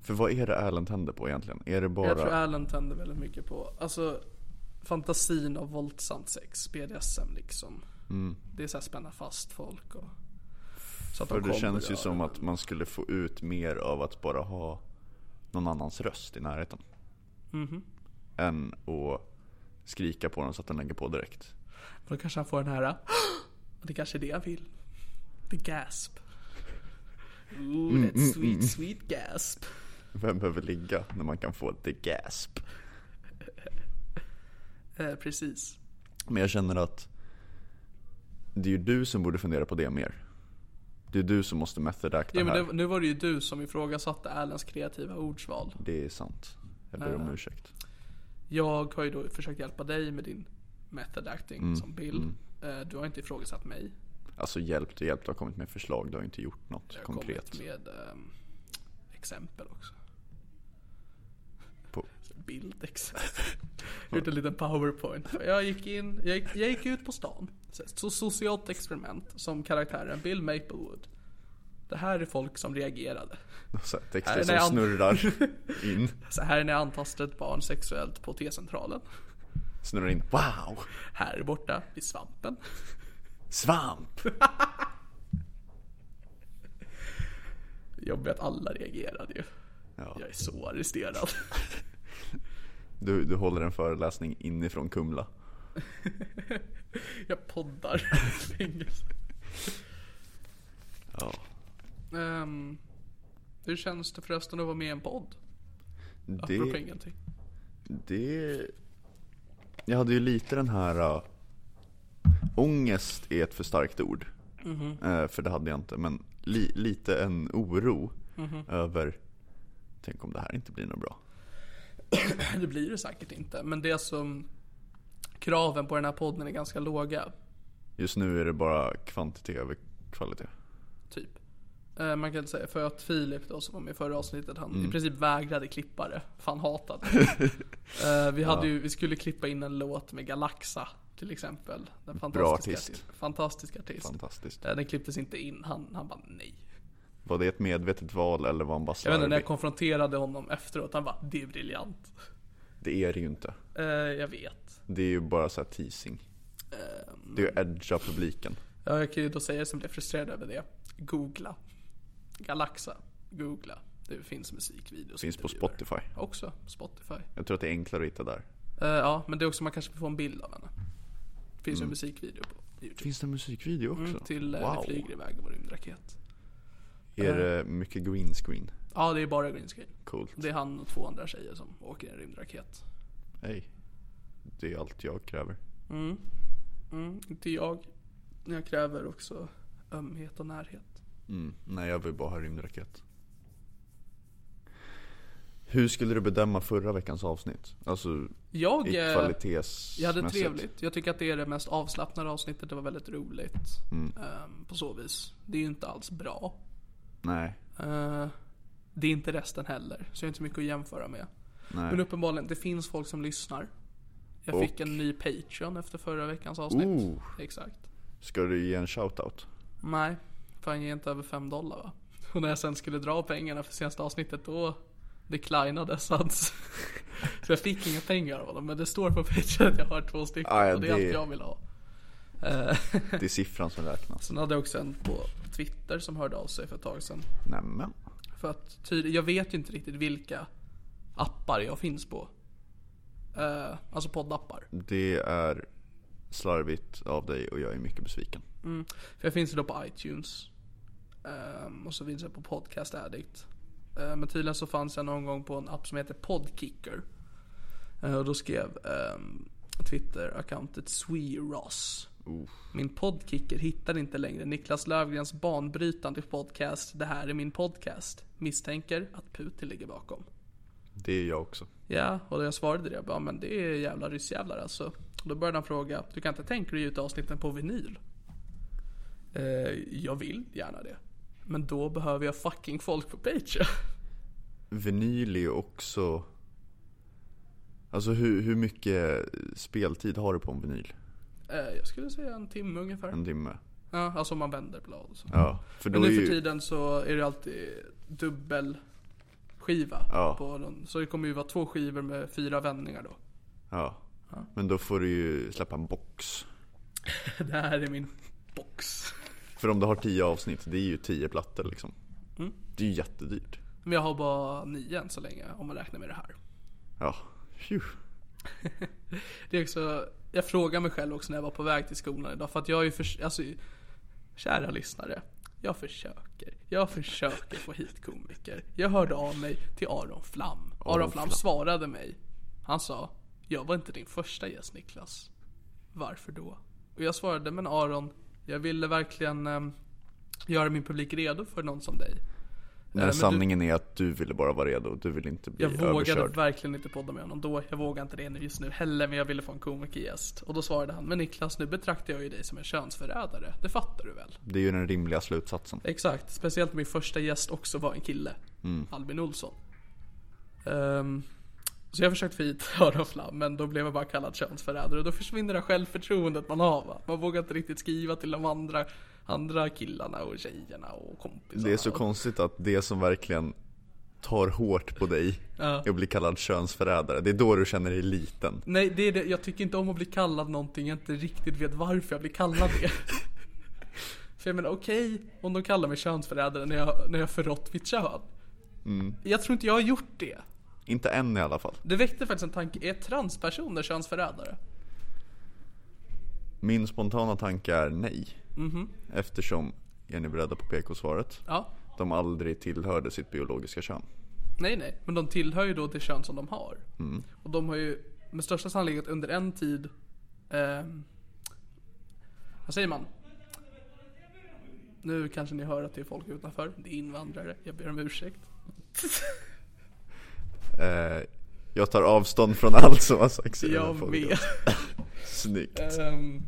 För vad är det Erland tänder på egentligen? Är det Jag tror bara... Alan tänder väldigt mycket på, alltså fantasin av våldsamt sex, BDSM liksom. Mm. Det är såhär spänna fast folk och så att För de det kommer känns ju och- som att man skulle få ut mer av att bara ha någon annans röst i närheten. Mhm. Än att skrika på den så att den lägger på direkt. Då kanske han får den här, "Ah!" det kanske är det jag vill. The gasp. Mm, Ooh, that sweet, sweet gasp. Vem behöver ligga när man kan få the gasp? Eh, precis. Men jag känner att det är ju du som borde fundera på det mer. Det är du som måste method acta Ja, men här. det, nu var det ju du som ifrågasatte Alans kreativa ordsval. Det är sant. Jag ber om ursäkt. Jag har ju då försökt hjälpa dig med din method acting Mm, som Bill. Eh, Du har inte ifrågasatt mig. Alltså hjälpt och hjälpt, du har kommit med förslag, du har inte gjort något Jag har konkret. kommit med ehm, exempel också. [laughs] På- Bildexempel. [laughs] Gjort en liten powerpoint. Jag gick in, jag gick, jag gick ut på stan. Så- Så socialt experiment som karaktären Bill Maplewood. Det här är folk som reagerade. Så här, Nej, texter nej, som an- snurrar [laughs] in. Så här är när jag antastade ett barn sexuellt på T-centralen. Snurrar in. Wow! Här borta vid svampen. Svamp! Jobbigt att alla reagerade ju. Ja. Jag är så arresterad. Du, du håller en föreläsning inifrån Kumla. Jag [laughs] poddar. Ja. um, hur känns det förresten att vara med i en podd? Apropå Det, ingenting. [clears throat] Det... Jag hade ju lite den här... Uh... Ångest är ett för starkt ord. Eh, för det hade jag inte. Men li- lite en oro över... Tänk om det här inte blir något bra. Det blir det säkert inte. Men det som... Kraven på den här podden är ganska låga. Just nu är det bara kvantitet över kvalitet. Typ. Eh, Man kan säga för att Filip då som var med i förra avsnittet han i princip vägrade klippa det. För han hatade det. Eh, vi, hade ju, vi skulle klippa in en låt med Galaxa till exempel. Den fantastiska artist. Fantastisk artist. Fantastiskt. Eh, Den klipptes inte in. Han, han bara nej. Var det ett medvetet val eller var han bara Jag vet inte, när slarvig? jag konfronterade honom efteråt, han bara det är briljant. Det är det ju inte. Eh, jag vet. Det är ju bara så här teasing. Det är ju edga publiken. Ja, Jag kan ju då säga som blev frustrerad över det. Googla. Galaxa. Googla. Det finns musikvideos. Finns på intervjuer. Spotify. Också Spotify. Jag tror att det är enklare att hitta där. Eh, ja, men det är också man kanske får en bild av henne. Finns ju en musikvideo på Youtube. Mm. Finns det en musikvideo också? Mm, till eh, Vi flyger iväg vår rymdraket. Är det mycket green screen? Ja, det är bara green screen. Coolt. Det är han och två andra tjejer som åker i en rymdraket. Hej. Det är allt jag kräver. Mm, inte jag. Jag kräver också ömhet och närhet. Mm. Nej, jag vill bara ha rymdraket. Hur skulle du bedöma förra veckans avsnitt? Alltså Jag... i eh, kvalitetsmässigt? Jag hade trevligt. Jag tycker att det är det mest avslappnade avsnittet. Det var väldigt roligt. Mm. Ehm, på så vis. Det är ju inte alls bra. Nej. Eh, det är inte resten heller. Så jag har inte så mycket att jämföra med. Nej. Men uppenbarligen, det finns folk som lyssnar. Jag Och- Oh. fick en ny Patreon efter förra veckans avsnitt. Ooh. Exakt. Ska du ge [laughs] en shoutout? Nej, för han ger inte över 5 dollar va? Och när jag sen skulle dra pengarna för senaste avsnittet då declinades hans. [laughs] Så jag fick inga pengar av honom. Men det står på Patreon att jag har två stycken. Ah, ja, och det är det- allt jag vill ha. Eh, Det är siffran som räknas. Sen hade jag också en på Twitter som hörde av sig för ett tag sedan. Nämen. För att tydligt, jag vet ju inte riktigt vilka appar jag finns på. Eh, alltså poddappar. Det är slarvigt av dig och jag är mycket besviken. För jag finns ju då på iTunes. Ehm, och så finns jag på Podcast Addict. Eh, men tydligen så fanns jag någon gång på en app som heter Podkicker. Eh, och då skrev um, Twitter-accountet SweRoss. Min podkicker hittar inte längre Niklas Lövgrens banbrytande podcast Det här är min podcast. Misstänker att Putin ligger bakom. Det är jag också. Ja, och jag svarade det. Jag bara, men det är jävla ryssjävlar alltså. Och då började han fråga, du kan inte tänka dig att ge ut avsnitten på vinyl? Eh, jag vill gärna det. Men då behöver jag fucking folk på Patreon. [laughs] Vinyl är ju också... Alltså hur, hur mycket speltid har du på en vinyl? Eh, jag skulle säga en timme ungefär. En timme? Ja, alltså om man vänder blad och så. Ja. För Mm. då Men nu är för ju... tiden så är det alltid dubbel skiva. Ja. På någon, så det kommer ju vara två skivor med fyra vändningar då. [laughs] Ja. Men då får du ju släppa en box. Det här är min box. För om du har tio avsnitt, det är ju tio plattor liksom. Mm. Det är ju jättedyrt. Men jag har bara nio än så länge om man räknar med det här. Ja. Phew. Det är också, jag frågar mig själv också när jag var på väg till skolan idag för att jag är ju för, alltså, kära lyssnare. Jag försöker, jag försöker få hit komiker. Jag hörde av mig till Aron Flam. Aron, Aron Flam, Flam. svarade mig. Han sa, jag var inte din första gäst Niklas. Varför då? Och jag svarade, men Aron, jag ville verkligen ehm, göra min publik redo för någon som dig. Nej, men du- sanningen är att du ville bara vara redo. Du ville inte bli Jag vågade överkörd. verkligen inte podda med honom då. Jag vågar inte det nu just nu heller, men jag ville få en komikergäst. Och då svarade han, men Niklas, nu betraktar jag ju dig som en könsförrädare. Det fattar du väl? Det är ju den rimliga slutsatsen. Exakt, speciellt min första gäst också var en kille. Mm. Albin Olsson. Ehm, så jag försökte få hit [laughs] Aron Flam, men då blev jag bara kallad könsförrädare. Och då försvinner det självförtroendet man har va? Man vågar inte riktigt skriva till de andra, andra killarna och tjejerna och kompisarna. Det är så Och- konstigt att det som verkligen tar hårt på dig är att bli kallad könsförrädare. Det är då du känner dig liten. Nej, det är det. Jag tycker inte om att bli kallad någonting jag inte riktigt vet varför jag blir kallad det. För jag menar, okej om de kallar mig könsförrädare när jag, när jag förrått mitt kön. Jag tror inte jag har gjort det. Inte än i alla fall. Det väckte faktiskt en tanke, är transpersoner könsförrädare? Min spontana tanke är nej. Mhm. Eftersom, är ni beredda på PK-svaret? Ja. De aldrig tillhörde sitt biologiska kön. Nej, nej. Men de tillhör ju då det kön som de har. Och de har ju med största sannolikhet under en tid... Eh, vad säger man? Nu kanske ni hör att det är folk utanför. Det är invandrare. Jag ber om ursäkt. Eh, jag tar avstånd från allt som har sagts i den här Jag podden. vet. Snyggt. Ehm,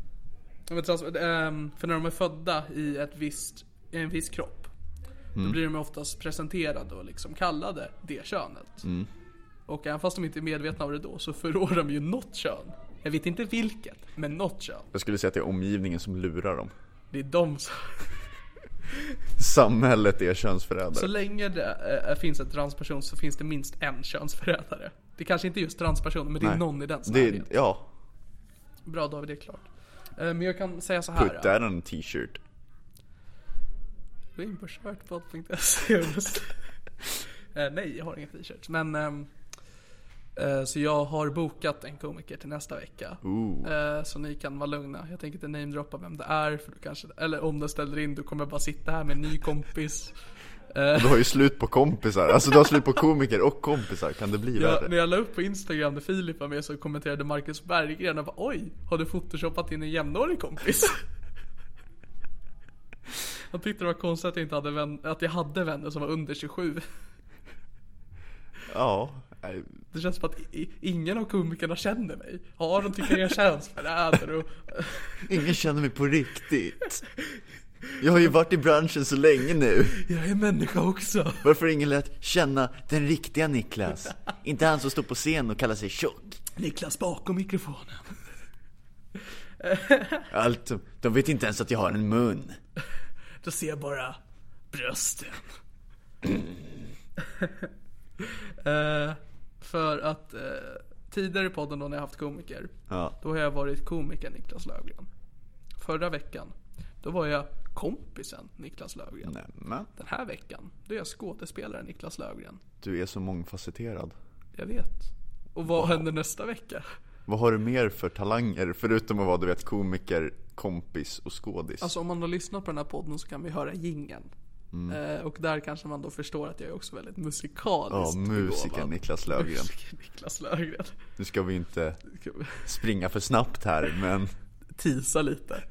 jag vet, alltså, ehm, för när de är födda i, ett visst, i en viss kropp, Mm. då blir de oftast presenterade och liksom kallade det könet. Mm. Och även fast de inte är medvetna om det då, så förrår de ju något kön. Jag vet inte vilket, men något kön. Jag skulle säga att det är omgivningen som lurar dem. Det är de som... Samhället är Så könsförrädare. länge det eh, finns en transperson så finns det minst en könsförrädare. Det kanske inte är just transpersoner, men det är Nej. någon i den Det, närhet. ja, Bra David, det är klart. Eh, men jag kan säga så här. put that on a t-shirt. Gå in på [laughs] shirtpod.se och beställ. Eh, Nej, jag har inga t-shirts. Men, ehm, eh, så jag har bokat en komiker till nästa vecka. Eh, så ni kan vara lugna. Jag tänker inte namedroppa vem det är. För du kanske, eller om den ställer in, då kommer jag bara sitta här med en ny kompis. Du har ju slut på kompisar, alltså du har slut på komiker och kompisar, kan det bli Jag, när värre? jag la upp på Instagram när Filip var med så kommenterade Marcus Berggren och bara oj, har du photoshopat in en jämnårig kompis? Han tyckte det var konstigt att jag, inte hade vän, att jag hade vänner som var under 27. Ja, nej, Det känns som att i- i- ingen av komikerna känner mig. Ja, de tycker jag är könsförrädare och... ingen känner mig på riktigt. Jag har ju varit i branschen så länge nu. Jag är människa också. Varför har ingen lärt känna den riktiga Niklas? Inte han som står på scen och kallar sig tjock. Niklas bakom mikrofonen. Allt, de vet inte ens att jag har en mun. Då ser jag bara brösten. [clears throat] Eh, för att eh, tidigare i podden då när jag haft komiker, Ja. då har jag varit komiker Niklas Löfgren. Förra veckan, då var jag kompisen Niklas Löfgren. Nämen, Den här veckan, då är jag skådespelare Niklas Löfgren. du är så mångfacetterad. Jag vet. Och vad händer nästa vecka? Vad har du mer för talanger? Förutom att vara du vet komiker, kompis och skådis. Alltså om man har lyssnat på den här podden så kan vi höra gingen. Mm. Eh, och där kanske man då förstår att jag är också väldigt Ja, musikaliskt musiker begåvad. Niklas Löfgren. Musiker Niklas Löfgren. Nu ska vi inte Ska vi springa för snabbt här men [laughs] Tisa lite.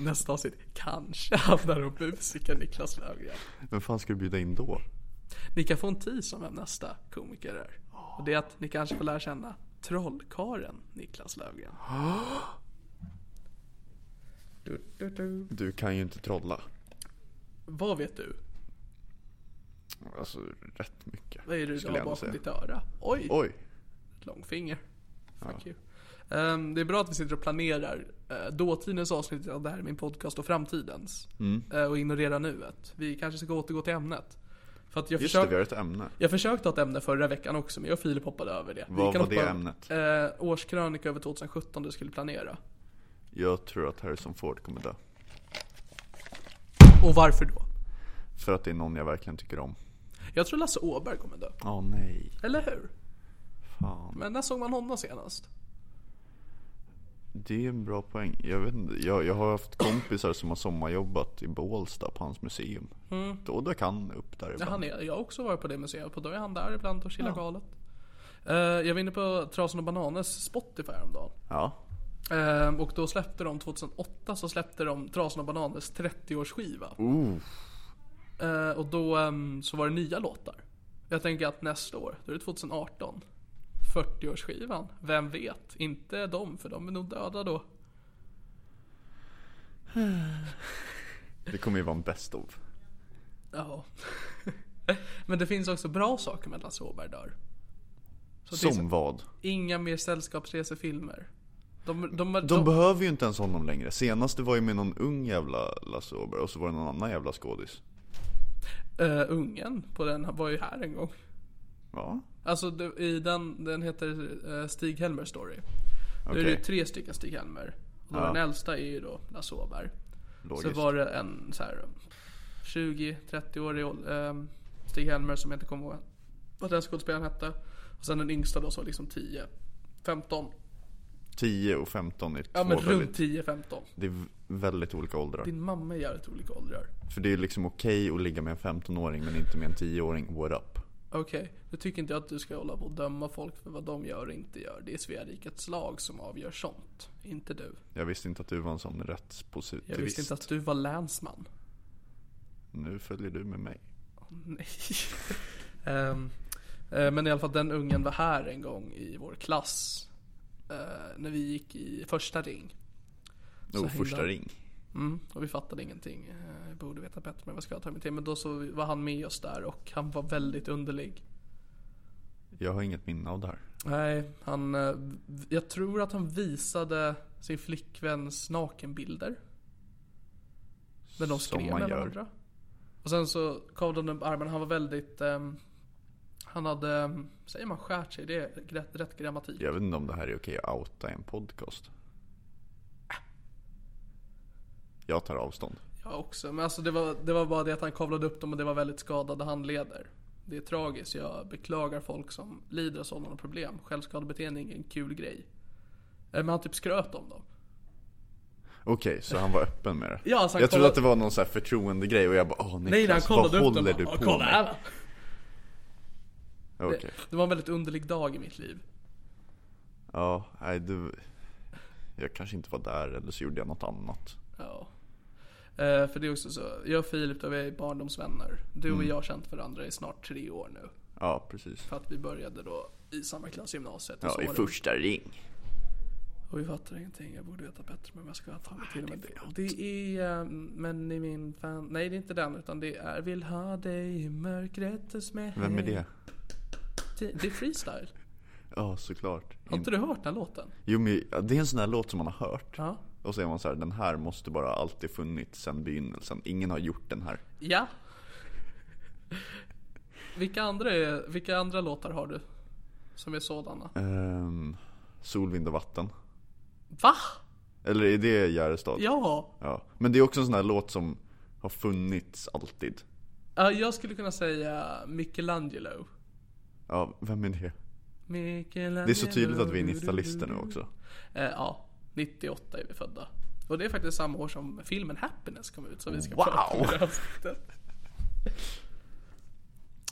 Nästa avsnitt kanske handlar om musiker Niklas Löfgren. vem fan ska du bjuda in då? Ni kan få en tis om vem nästa komiker är. Och det är att ni kanske får lära känna trollkaren Niklas [gasps] Löfgren. Du, du, du. Du kan ju inte trolla. Vad vet du? Alltså rätt mycket. Vad är det du skulle har jag ändå bakom säga. ditt öra? Oj! Oj, Långfinger. Fuck you. Ehm, det är bra att vi sitter och planerar uh, dåtidens avsnitt av det här är min podcast och framtidens. Mm. Eh, och ignorera nuet. Vi kanske ska återgå till ämnet. För att jag, just försök- det vi har ett ämne. jag försökte ha ett ämne förra veckan också men jag och Filip hoppade över det. Vad var det hoppa- ämnet? eh, årskrönika över 2017 du skulle planera. Jag tror att Harrison Ford kommer dö. Och varför då? För att det är någon jag verkligen tycker om. Jag tror Lasse Åberg kommer dö. Åh nej, Eller hur? fan. Men när såg man honom senast? Det är en bra poäng. Jag, vet inte, jag, jag har haft kompisar som har sommarjobbat i Bålsta på hans museum. Mm. Då dök han upp där Ja, ibland. han är, jag har också varit på det museet och då är han där ibland och chillar galet. Eh, jag var inne på Trasan och Bananes Spotify häromdagen. Ja, Eh, och då släppte de 2008 så släppte de Trasan och Bananes 30-årsskiva. Eh, och då ehm, så var det nya låtar. Jag tänker att nästa år, då är det 2018. 40-årsskivan, vem vet? Inte de, för de är nog döda då. det kommer ju vara en best of. Ja. [laughs] Men det finns också bra saker med att Lasse Åberg dör. Så det Som finns vad? inga mer sällskapsresefilmer. De, de, de, De behöver ju inte ens honom längre. Senast det var ju med någon ung jävla Lasse Åberg och så var det någon annan jävla skådis. eh, ungen på den var ju här en gång. Ja, Alltså det- i den, den heter eh, Stig Helmer Story. Då är det Okej. ju tre stycken Stig Helmer. Och då Ja. Den äldsta är ju då Lasse Åberg. Så logiskt. var det en så här um, 20-30-årig eh, Stig Helmer som jag inte kommer ihåg vad den skådespelaren hette. Och sen den yngsta då som var liksom 10, 15. 10 och 15 är Ja två men runt väldigt, 10, 15. det är v- väldigt olika åldrar. Din mamma är jävligt olika åldrar. För det är ju liksom okej att ligga med en 15-åring men inte med en 10-åring, what up? Ja, Okej, nu tycker inte jag att du ska hålla på och döma folk för vad de gör och inte gör. Det är Svea rikets lag som avgör sånt, inte du. Jag visste inte att du var en sån Jag rättspositivist. visste inte att du var länsman. [laughs] Nu följer du med mig. Nej. [laughs] Ehm, eh, men i alla fall den ungen var här en gång i vår klass. eh, när vi gick i första ring. Så Oh, himla- första ring. Mm, och vi fattade ingenting. Eh, Jag borde veta bättre men vad ska jag ta mig till? Men då så var han med oss där och han var väldigt underlig. Jag har inget minne av det här. Nej, han... eh, v- Jag tror att han visade sin flickväns nakenbilder. Men de Som skrev man med gör. varandra. Och sen så kavlade han upp armen. Han var väldigt... ehm, han hade... ehm, Säger man skärt sig? Det är rätt, rätt grammatik. Jag vet inte om det här är okej att outa i en podcast. Jag tar avstånd. Jag också. Men alltså det var, det var bara det att han kavlade upp dem och det var väldigt skadade handleder. Det är tragiskt. Jag beklagar folk som lider av sådana problem. Självskadebeteende är ingen kul grej. Eh, Men han typ skröt om dem. Okej, så han var öppen med det? Ja, alltså han jag trodde kollade- att det var någon så här förtroendegrej och jag bara åh Nej, när han Niklas, vad kollade upp dem. håller han du bara, på kolla här med? va. Okej, Det, det var en väldigt underlig dag i mitt liv. ja, nej du... Jag kanske inte var där eller så gjorde jag något annat. Ja. Eh, för det är också så, jag och Filip då, vi är barndomsvänner. Du Mm. och jag har känt varandra i snart tre år nu. Ja, precis. För att vi började då i samma klass i gymnasiet. och så Ja, i var det- första ring. Och vi fattar ingenting, jag borde veta bättre men jag ska ta mig till med det. Det är, eh, men i min fan... Nej det är inte den utan det är Vill ha dig i mörkret hos mig. Vem är det? Det det är freestyle. Ja, såklart. Har inte du hört den låten? Jo men ja, det är en sån här låt som man har hört. Ja. Och så är man så här, den här måste bara alltid funnits sedan begynnelsen. Ingen har gjort den här. Ja. Vilka andra, är, vilka andra låtar har du? Som är sådana? Ehm, sol, vind och vatten. Va? Eller är det Gärestad? Ja! ja. Men det är också en sån här låt som har funnits alltid. Ja, jag skulle kunna säga Michelangelo. Ja, vem är det? Michelangelo. Det är så tydligt att vi är nissalister nu också. Eh, ja, 98 är vi födda. Och det är faktiskt samma år som filmen Happiness kom ut som vi ska Wow! prata om i det här avsnittet.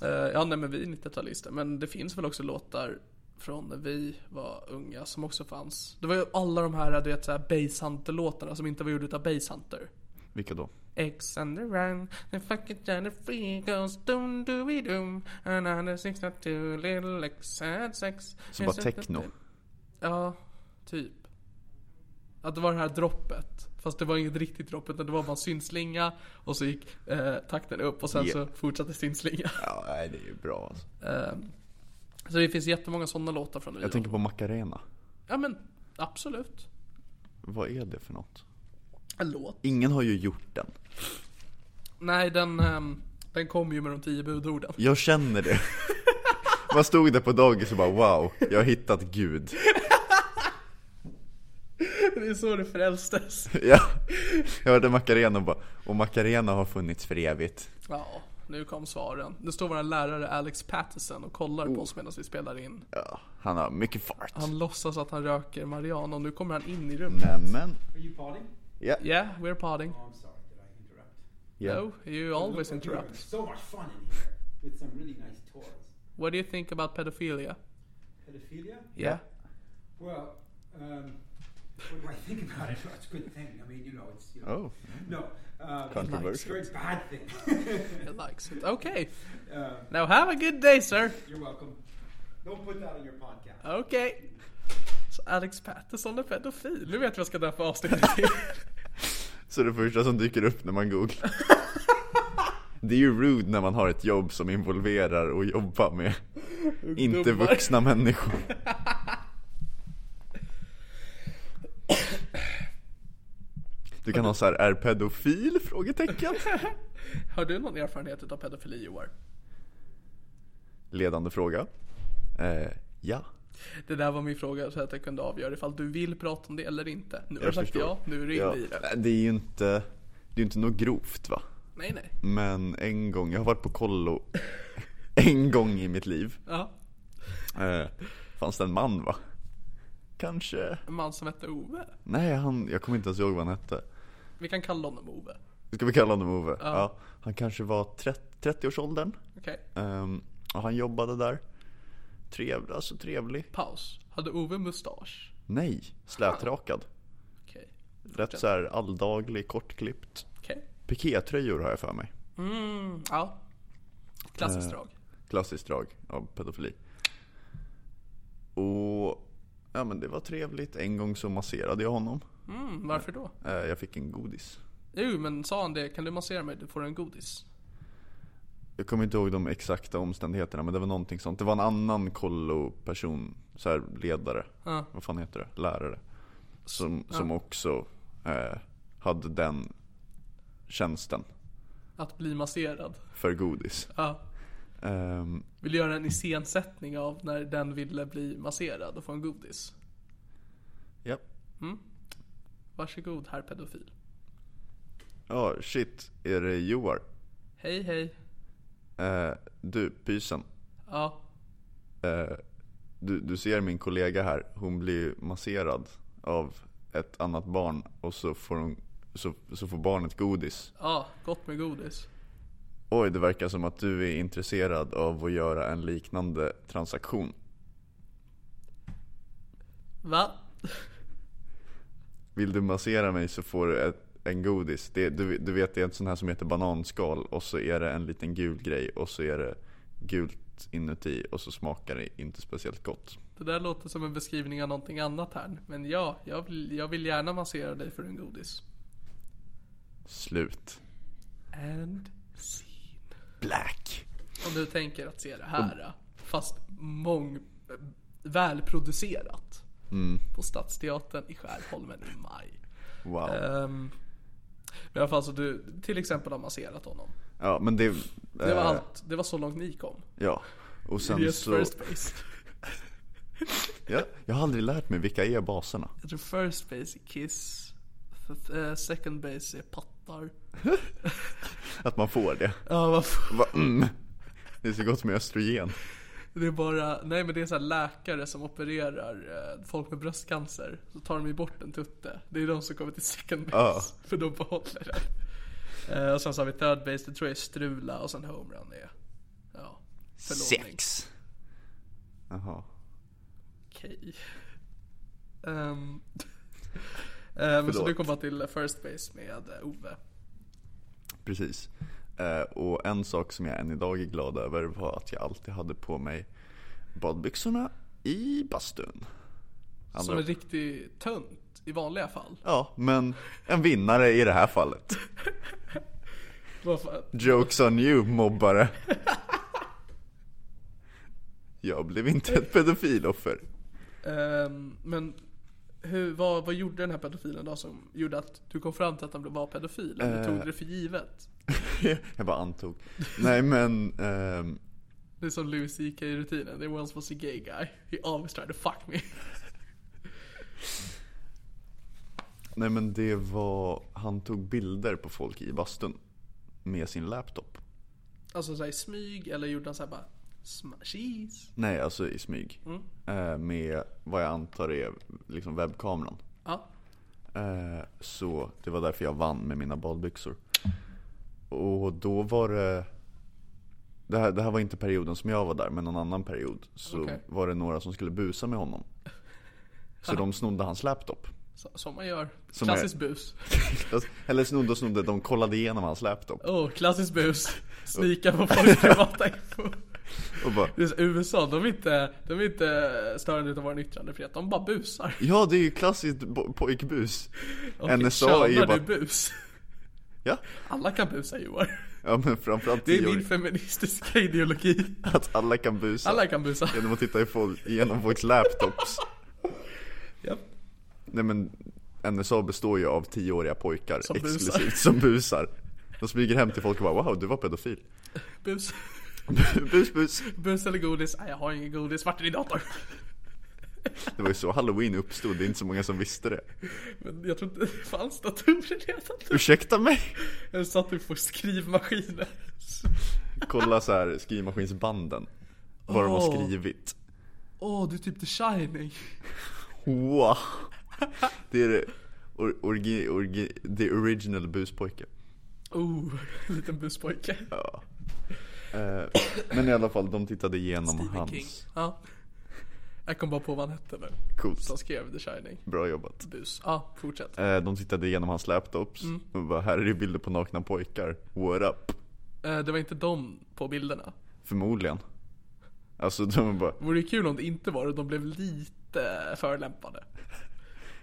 Eh, Ja, nej men vi är 90-talister. Men det finns väl också låtar från när vi var unga som också fanns. Det var ju alla de här, du vet såhär basshunter-låtarna som inte var gjorda utav basshunter. Vilka då? X on the run, the fucking Johnny Free goes doom dooby doom Another 62 little X had sex Så bara techno. Ja, typ. Att det var det här droppet. Fast det var inget riktigt dropp utan det var bara en synslinga och så gick eh, takten upp och sen Yeah. så fortsatte synslinga. Ja, nej, det är ju bra alltså. Ehm, så det finns jättemånga sådana låtar från Jag tänker på Macarena. Ja men absolut. Vad är det för något? En låt. Ingen har ju gjort den. Nej den, ehm, den kom ju med de tio budorden. Jag känner det. Man stod där på dagis och bara wow, jag har hittat [laughs] Gud. [laughs] det är så det frälstes. Ja, jag hörde Macarena och bara, och Macarena har funnits för evigt. Ja, nu kom svaren. Det står vår lärare Alex Patterson och kollar på oss medan vi spelar in. Oh. Ja, han har mycket fart. Han låtsas att han röker Mariana och nu kommer han in i rummet. Nämen. Are you parting? Ja, Yeah, we're partying. Oh, I'm sorry, did I interrupt? ja. No, you always interrupt. So much fun in here with some really nice toys. What do you think about pedophilia? Pedophilia? Yeah. Well, um, what do I think about it? Well, it's a good thing. I mean, you know, it's you know, Oh, no, um, it's a controversial. very bad thing. [laughs] He likes it. Okay. um, Now have a good day, sir. you're welcome. Don't put that on your podcast. Okay. Så Alex Patterson är pedofil. Nu vet jag vad jag ska döpa avsnittet [laughs] till. Så det första som dyker upp när [laughs] man googlar. Det är ju rude när man har ett jobb som involverar och jobbar med inte Ungdomar. vuxna människor. Du kan ha så här, är pedofil? Frågetecken. Har du någon erfarenhet utav pedofili Joar? Ledande fråga. Eh, ja. Det där var min fråga så att jag kunde avgöra ifall du vill prata om det eller inte. Nu har du sagt förstår. ja, nu är du inne Ja. Eh, i det. Det är ju inte, det är ju inte något grovt va? Nej, nej. Men en gång, jag har varit på kollo en gång i mitt liv. Ja. Eh, fanns det en man va? Kanske? En man som hette Ove. Nej, han, jag kommer inte ens ihåg vad han hette. Vi kan kalla honom Ove. Ska vi kalla honom Ove? Ja. han kanske var 30, 30-årsåldern. Okej. Ehm, Och han jobbade där. Trevlig, alltså trevlig. Paus. Hade Ove mustasch? Nej, slätrakad. Okej. Rätt så här alldaglig, kortklippt. Okej. Pikétröjor har jag för mig. Mm, ja. Klassiskt drag. Klassiskt drag av pedofili. Och ja men det var trevligt. En gång så masserade jag honom. Mm, varför då? Eh, Jag fick en godis. Jo, men sa han det? Kan du massera mig? Du får en godis. Jag kommer inte ihåg de exakta omständigheterna men det var någonting sånt. Det var en annan kollo-person, så här ledare. Ja. Vad fan heter det? Lärare. Som, som också eh, hade den tjänsten Att bli masserad. för godis. Ja. Ehm, Vill göra en iscensättning av när den ville bli masserad och få en godis. ja. Varsågod herr pedofil. Ja, shit. Är det Joar? Hej hej. Eh, du, pysen. Ja. Eh, du, du ser min kollega här. Hon blir masserad av ett annat barn och så får, hon, så, så får barnet godis. Ja, gott med godis. Oj, det verkar som att du är intresserad av att göra en liknande transaktion. Va? Vill du massera mig så får du ett, en godis. Det, du, du vet det är en sån här som heter bananskal och så är det en liten gul grej och så är det gult inuti och så smakar det inte speciellt gott. Det där låter som en beskrivning av någonting annat här. Men ja, jag vill, jag vill gärna massera dig för en godis. Slut. And scene. Black. Om du tänker att se det här, fast mång... välproducerat. Mm. På Stadsteatern i Skärholmen i maj. Wow. Ehm, men i alla fall så du till exempel har masserat honom. Ja, men det... Det var, eh, allt, det var så långt ni kom. Ja. Och sen Yes, så... first base. Ja, jag har aldrig lärt mig vilka är baserna. Jag tror first base är kiss. f- eh, Second base är pattar. Att man får det. Ja, vad fan. Va, mm. Det är så gott med östrogen. Det är bara, nej men det är så här läkare som opererar eh, folk med bröstcancer. Så tar de ju bort en tutte. Det är de som kommer till second base. Ja. För de behåller den. Eh, och sen så har vi third base, det tror jag är strula och sen homerun är, ja, förlovning. Jaha. Okej. Ehm, [laughs] eh, men så Förlåt. du kommer till first base med eh, Ove. Precis. Eh, och en sak som jag än idag är glad över var att jag alltid hade på mig badbyxorna i bastun. Andra- Som en riktig tönt i vanliga fall. Ja, men en vinnare i det här fallet. Vad fan? Jokes on you mobbare. Jag blev inte ett pedofiloffer. [laughs] Ehm, men hur, vad, vad gjorde den här pedofilen då som gjorde att du kom fram till att han var pedofil? Eller tog det för givet? jag bara antog. Nej men, ehm, Det är som Louis CK i rutinen. There once was a gay guy. He always tried to fuck me. [laughs] nej men det var, han tog bilder på folk i bastun. Med sin laptop. Alltså såhär i smyg eller gjorde han såhär bara smash cheese? Nej, alltså i smyg. Mm. Eh, med vad jag antar är liksom webbkameran. Ja. Eh, så det var därför jag vann med mina badbyxor. Och då var det... Det här, det här var inte perioden som jag var där, men någon annan period. Så Okej. var det några som skulle busa med honom. Så de snodde hans laptop. Så, som man gör. Som klassisk är- bus. Eller snodde och snodde, de kollade igenom hans laptop. Åh, oh, klassisk [laughs] bus. Snika på folks privata info. Och bara, Det är så, USA, de är inte, de är inte störande utav vår yttrandefrihet. De bara busar. ja det är ju klassiskt bo- pojkbus. Okej, NSA är ju tjänar bara... du bus? Ja, Alla kan busa Johan. ja men framförallt Det tio är år, min feministiska ideologi. att alla kan busa. Alla kan busa. Genom att titta i folk, igenom folks laptops. Japp. Nej men NSA består ju av tioåriga pojkar Som busar. explicit som busar. De smyger hem till folk och bara wow du var pedofil. Bus. [laughs] bus bus. Bus eller godis? Nej, jag har ingen godis. Vart är din dator? Det var ju så halloween uppstod, det är inte så många som visste det. Men jag tror inte det fanns datorer redan. Ursäkta mig? Jag satt typ på skrivmaskiner. Kolla så här skrivmaskinsbanden. Vad de har Åh. skrivit. Åh, du är typ the shining. Wow. Det är det, or, orgi, orgi, the original buspojke. Oh, en liten buspojke. Ja. Eh, men i alla fall, de tittade igenom Stephen hans. King. Ja. Jag kom bara på vad han hette nu. Coolt. Som skrev The Shining. Bra jobbat. Bus. Ja, fortsätt. Eh, de tittade igenom hans laptops och bara, här är det bilder på nakna pojkar. What up? Eh, Det var inte de på bilderna. Förmodligen. Alltså de bara, Vore ju kul om det inte var det. De blev lite förolämpade.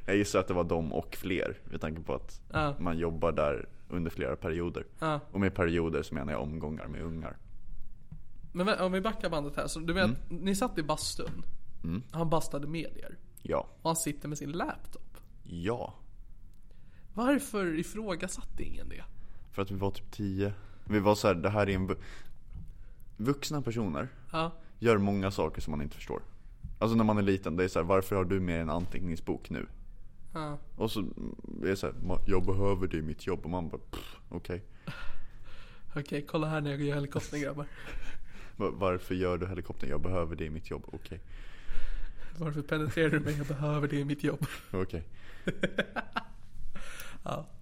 jag gissar att det var de och fler. Med tanke på att Ja. man jobbar där under flera perioder. Ja. Och med perioder så menar jag omgångar med ungar. Men vä- om vi backar bandet här. Så du vet, Mm. ni satt i bastun. Han bastade med er. Ja. Och han sitter med sin laptop. Ja. Varför ifrågasatte ingen det? För att vi var typ 10. Vi var så här, det här är en... vu- Vuxna personer Ja. gör många saker som man inte förstår. Alltså när man är liten, det är så här, varför har du med dig en anteckningsbok nu? Ja. Och så mm, är det så här, "Ma- jag behöver det i mitt jobb. Och man bara, "Pff, okej. Okej, kolla här när jag gör helikoptern grabbar. Va- Varför gör du helikoptern? Jag behöver det i mitt jobb. Okej. Varför penetrerar du mig? Jag behöver det i mitt jobb. Okej.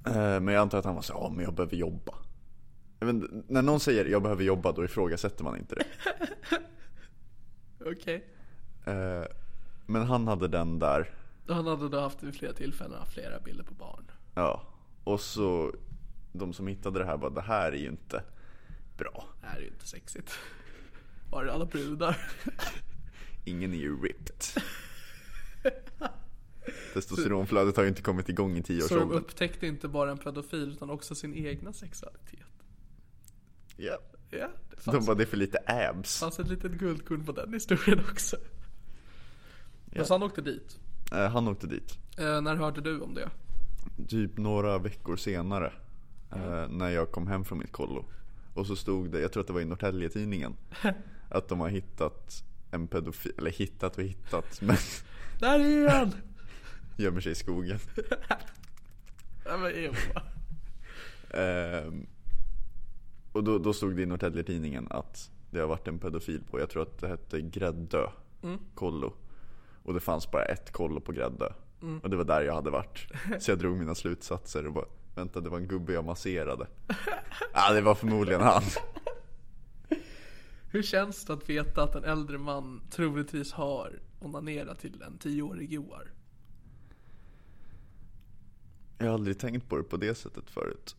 Eh, Men jag antar att han var så ja men jag behöver jobba. Men när någon säger jag behöver jobba då ifrågasätter man inte det. Okej. Eh, Men han hade den där. Han hade då haft vid flera tillfällen haft flera bilder på barn. Ja. Och så de som hittade det här bara, det här är ju inte bra. Det här är ju inte sexigt. Var är alla brudar? Ingen är ju ripped. Testosteronflödet har ju inte kommit igång i Så de tioårsåldern. upptäckte inte bara en pedofil utan också sin egna sexualitet. Ja. Ja, det fanns, De bara, det är för lite abs. fanns ett litet guldkorn på den historien också. Men så han åkte dit. Eh, Han åkte dit. Eh, när hörde du om det? typ några veckor senare eh, när jag kom hem från mitt kollo. Och så stod det, jag tror att det var i Norrtälje-tidningen, att de har hittat en pedofil, eller hittat och hittat, men [laughs] Där är han! gömmer sig i skogen. [laughs] Ja, men Eva. Ehm, och då, då stod det i Norrtälje-tidningen att det har varit en pedofil på, jag tror att det hette Gräddö kollo. Och det fanns bara ett kollo på Gräddö. Och det var där jag hade varit. Så jag drog mina slutsatser och bara, vänta det var en gubbe jag masserade. ah, det var förmodligen han. Hur känns det att veta att en äldre man troligtvis har onanerat till en tioårig Joar? Jag har aldrig tänkt på det på det sättet förut.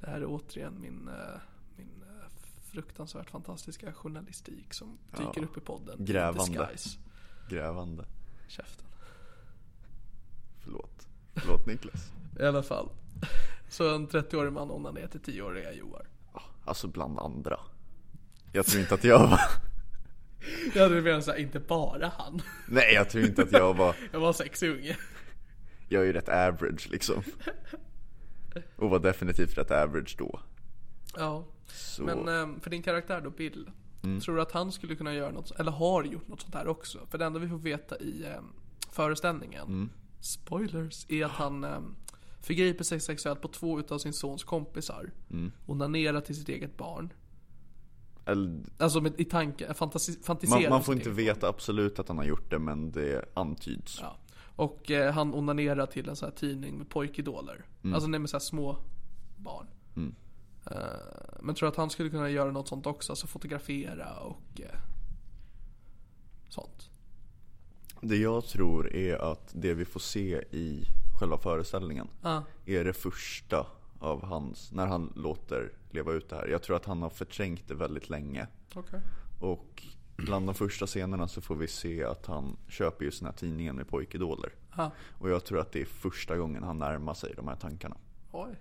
Det här är återigen min, eh, min eh, fruktansvärt fantastiska journalistik som dyker upp i podden. Grävande. Disguise. Grävande. Käften. Förlåt. Förlåt Niklas. I alla fall. [laughs] Så en 30-årig man onanerar till 10-åriga Joar. Alltså bland andra. Jag tror inte att jag var... [laughs] Jag hade velat säga inte bara han. Nej, jag tror inte att jag var... Jag var sexig unge. Jag är ju rätt average [laughs] liksom. Och var definitivt rätt average då. Ja. Så... Mm. Men eh, för din karaktär då, Bill. Tror du att han skulle kunna göra något, eller har gjort något sånt här också? För det enda vi får veta i eh, föreställningen, Mm. spoilers, är att han eh, förgriper sig sexuellt på två utav sin sons kompisar. Mm. Onanerar till sitt eget barn. Eller, Alltså med, i tanken, fantasi, fantiserar. man, man om får sitt inte eget- veta absolut att han har gjort det, men det antyds. Ja. Och eh, han onanerar till en sån här tidning med pojkidoler. Mm. Alltså nej, med så här små barn. Eh, men tror du att han skulle kunna göra något sånt också? Alltså fotografera och eh, sånt. Det jag tror är att det vi får se i själva föreställningen är det första av hans, när han låter leva ut det här. Jag tror att han har förträngt det väldigt länge. Okej. Och bland de första scenerna så får vi se att han köper just den här tidningen med pojkidoler. Och jag tror att det är första gången han närmar sig de här tankarna. Oj. [clears throat]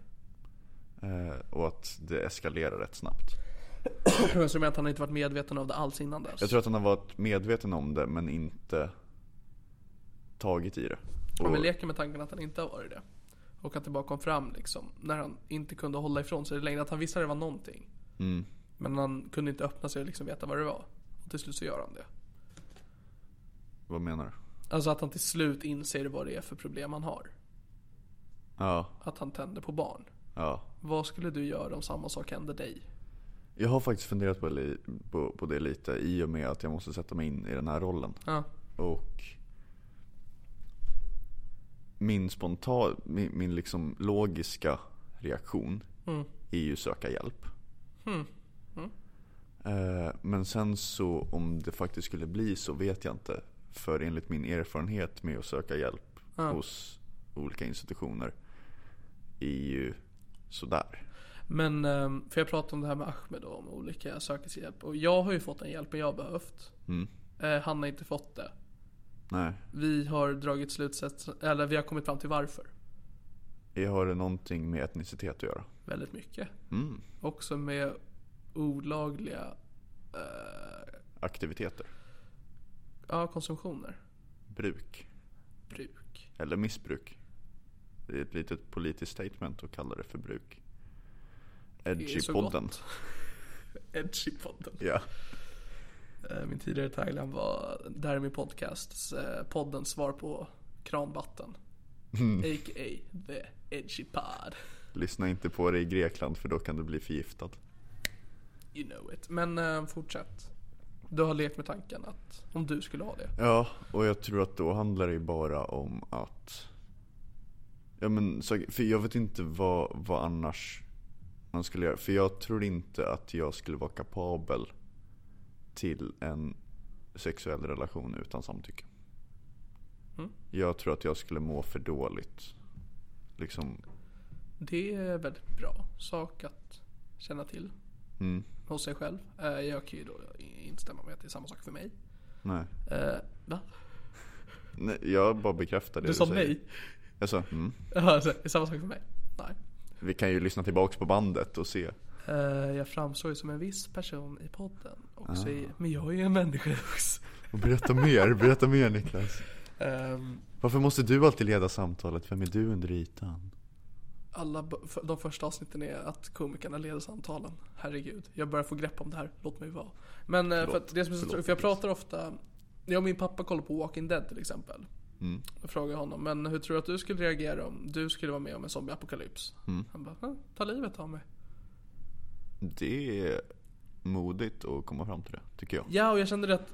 Eh, och att det eskalerar rätt snabbt. Så du menar att han inte varit medveten av det alls innan dess? Jag tror att han har varit medveten om det men inte tagit i det. Om vi Och- leker med tanken att han inte har varit det. Och att det bara kom fram liksom. När han inte kunde hålla ifrån sig det längre. Att han visste att det var någonting. Mm, Men han kunde inte öppna sig och liksom veta vad det var. Och till slut så gör han det. vad menar du? Alltså att han till slut inser vad det är för problem han har. Ja, Att han tänder på barn. ja. Vad skulle du göra om samma sak hände dig? Jag har faktiskt funderat på, li- på, på det lite i och med att jag måste sätta mig in i den här rollen. Ja. Och min spontan, min, min liksom logiska reaktion är ju söka hjälp. Eh, Men sen så om det faktiskt skulle bli så vet jag inte. För enligt min erfarenhet med att söka hjälp Ja. hos olika institutioner är ju sådär. Men, ehm, för jag pratade om det här med Ahmed då, om olika sökers hjälp. Och jag har ju fått den hjälpen jag har behövt. Eh, Han har inte fått det. Mm. Nej, Vi har dragit slutsats, eller vi har kommit fram till varför. jag har det någonting med etnicitet att göra? Mm. Väldigt mycket. Också med olagliga eh, Aktiviteter? ja, konsumtioner. Bruk? Bruk. Eller missbruk? Det är ett litet politiskt statement att kalla det för bruk. Det är så Edgy-podden. gott. Edgy-podden. Ja. [laughs] Eh, Min tidigare tagline var Dermy Podcasts eh, poddens svar på kranvatten. A.k.a. The Edgy Pod. Lyssna inte på det i Grekland för då kan du bli förgiftad. You know it. Men eh, fortsätt. Du har lekt med tanken att om du skulle ha det. Ja, och jag tror att då handlar det ju bara om att... Ja men, så- för jag vet inte vad, vad annars man skulle göra. För jag tror inte att jag skulle vara kapabel till en sexuell relation utan samtycke. Mm. Jag tror att jag skulle må för dåligt. Liksom, Det är väldigt bra sak att känna till mm, hos sig själv. Eh, Jag kan ju då instämma med att det är samma sak för mig. nej. Eh, Va? nej. Jag bara bekräftar det Du sa säger. nej? Jag sa, mm. [laughs] Ja, så- Det är samma sak för mig. Nej. Vi kan ju lyssna tillbaks på bandet och se. Eh, Jag framstår ju som en viss person i podden. Ah. Också i, men jag är ju en människa också. Och berätta mer, berätta mer Niklas. Ehm, Varför måste du alltid leda samtalet? Vem är du under ytan? Alla b- f- de första avsnitten är att komikerna leder samtalen. Herregud, jag börjar få grepp om det här. Låt mig vara. Men eh, för att det som är så Förlåt, för jag Niklas. pratar ofta, jag och min pappa kollar på Walking Dead till exempel. Mm. Då frågar jag honom, men hur tror du att du skulle reagera om du skulle vara med om en zombieapokalyps? Mm. Han bara, "Hm, ta livet av mig. Det är modigt att komma fram till det, tycker jag. Ja, och jag kände det att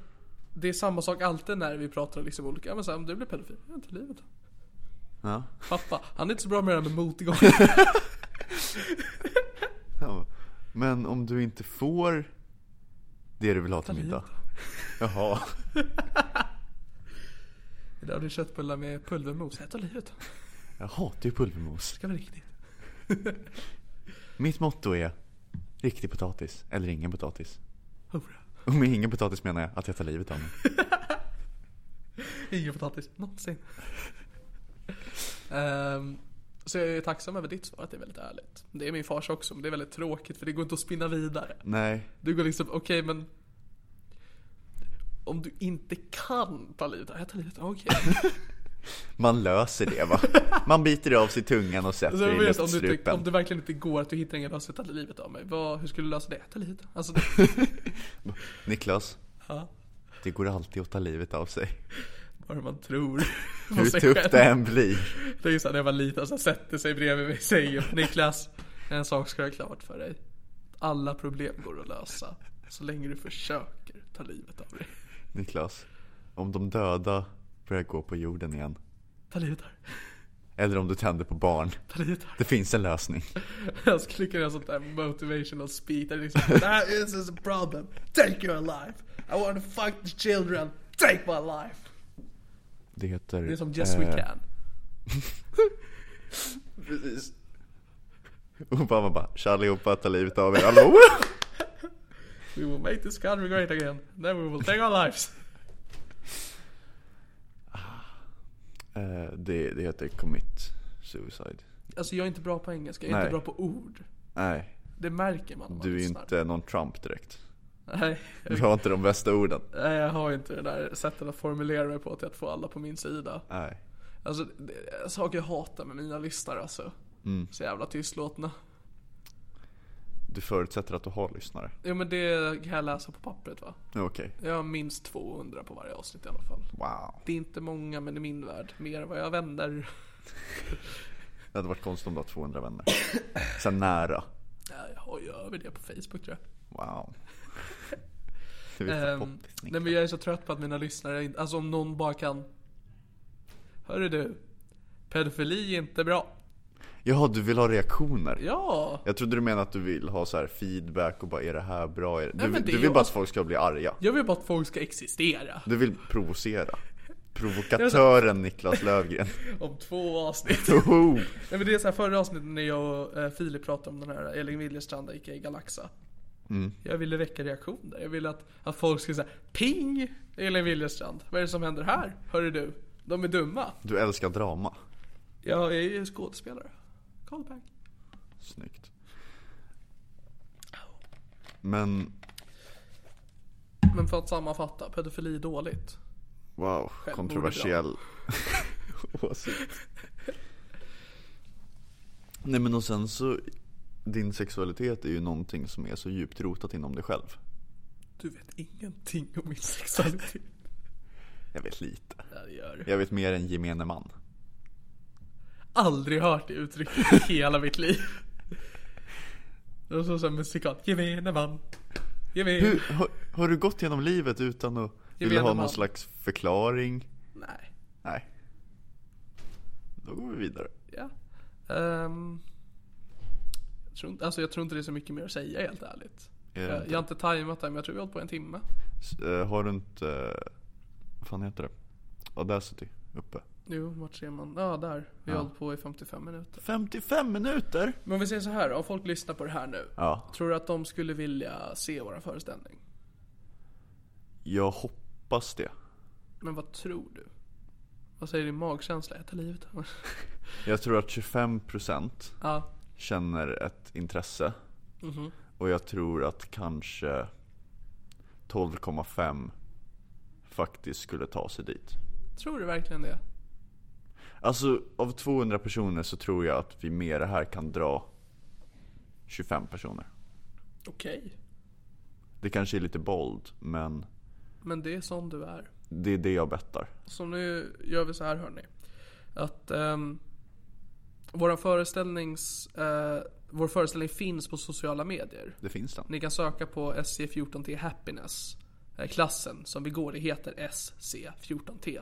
det är samma sak alltid när vi pratar om liksom olika, ja, men så här, om du blir pedofil, ja, ta livet av mig. Ja. Pappa, han är inte så bra med det här med motgång. Ja. Men om du inte får det du vill ha till middag? Jaha. Idag blir [laughs] det köttbullar med pulvermos, jag tar livet av mig. Jaha, det är pulvermos. Det ska vara riktigt. Mitt motto är riktig potatis, eller ingen potatis. Hurra. Och med ingen potatis menar jag att jag tar livet av mig. Ingen potatis någonsin. Ehm, så jag är tacksam över ditt svar att det är väldigt ärligt. Det är min fars också men det är väldigt tråkigt för det går inte att spinna vidare. Nej, Du går liksom, okej men... Om du inte kan ta livet av jag tar livet av okej. Alltså, man löser det va. Man biter av sig tungan och sätter Så jag i vet, om, du inte, om luftstrupen. det verkligen inte går att du hittar ingen lösning, ta livet av mig. Vad, hur skulle du lösa det? Ta livet av alltså, det, Niklas, ja, det går alltid att ta livet av sig. Vad man tror. om Hur sig tufft själv. det än blir. Det är ju så här, när jag var liten, så här, sätter sig bredvid mig och säger Niklas, en sak ska jag ha klart för dig. Alla problem går att lösa. Så länge du försöker ta livet av dig. Niklas, om de döda börjar gå på jorden igen, Ta livet av dig. eller om du tänder på barn, Ta livet av dig. det finns en lösning. Jag skulle kunna göra sånt där motivational speak. Där det liksom, That is is a problem. Take your life. I want to fuck the children. Take my life. Det heter... Det är som Yes Eh. We Can. Precis. Obama bara, tja allihopa, ta livet av er, [laughs] hallå! We will make this country great again. Then we will take our [laughs] lives. Eh, det, det heter commit suicide. Alltså jag är inte bra på engelska. Jag är Nej. inte bra på ord. Nej, Det märker man om man du är lyssnar. inte någon Trump direkt. Nej, Du har inte de bästa orden. Nej, jag har ju inte det där sättet att formulera mig på till att få alla på min sida. Nej. Alltså, det, saker jag hatar med mina lyssnare alltså. Så jävla tystlåtna. Du förutsätter att du har lyssnare. Jo men det kan jag läsa på pappret va? Okej. Jag har minst 200 på varje avsnitt i alla fall. Wow. Det är inte många men i min värld, mer än vad jag vänder. Det hade varit konstigt om du har 200 vänner. Sen nära. Ja, Jag har ju över det på Facebook tror jag. [laughs] Wow. Du vet vad Ehm, poppis nej men jag är så trött på att mina lyssnare inte, alltså om någon bara kan... Hörru du. Pedofili är inte bra. Jaha, du vill ha reaktioner? Ja! Jag trodde du menade att du vill ha så här feedback och bara är det här bra? Är det... Du, men det du är vill ju- bara att folk ska bli arga. Jag vill bara att folk ska existera. Du vill provocera. Provokatören [laughs] Niklas Löfgren. Om två avsnitt. Oho! Nej men det är så här förra avsnittet när jag och eh, Filip pratade om den här Elin Willerstrand gick i Galaxa. Jag ville väcka reaktioner. Jag ville att, att folk skulle säga Ping! Elin Willerstrand, vad är det som händer här? Hörru du, de är dumma. Du älskar drama. Jag är ju skådespelare. Callback. Snyggt. Men, Men för att sammanfatta, pedofili är dåligt. wow, Självmord kontroversiell [laughs] åsikt. Nej men och sen så, din sexualitet är ju någonting som är så djupt rotat inom dig själv. Du vet ingenting om min [laughs] sexualitet. Jag vet lite. Ja, det gör du. Jag vet mer än gemene man. Aldrig hört det uttrycket [laughs] i hela mitt liv. Det var så som musikal. Gemene man. Gemene... Hur, har, har du gått genom livet utan att vilja Gemene ha man. någon slags förklaring? Nej. Nej. Då går vi vidare. Ja. Ehm, jag, tror inte, alltså jag tror inte det är så mycket mer att säga helt ärligt. Är det Jag, jag har inte tajmat det men jag tror vi har hållit på en timme. Eh, S- eh, Har du inte, eh, vad fan heter det? Audacity uppe. Jo, vart ser man? Ja, där. Vi har hållit på i 55 minuter. 55 minuter? Men om vi säger så här, om folk lyssnar på det här nu. Ja. Tror du att de skulle vilja se vår föreställning? Jag hoppas det. Men vad tror du? Vad säger din magkänsla? Jag tar livet av mig. [laughs] Jag tror att 25% Ja. känner ett intresse. Och jag tror att kanske 12,5 faktiskt skulle ta sig dit. Tror du verkligen det? Alltså av 200 personer så tror jag att vi med det här kan dra 25 personer. Okej. Det kanske är lite bold, men Men det är sån du är. det är det jag bettar. Så nu gör vi så här hörni. Att um, vår, föreställnings, eh, vår föreställning finns på sociala medier. Det finns den. Ni kan söka på SC14T Happiness. eh, Klassen som vi går i heter SC14T.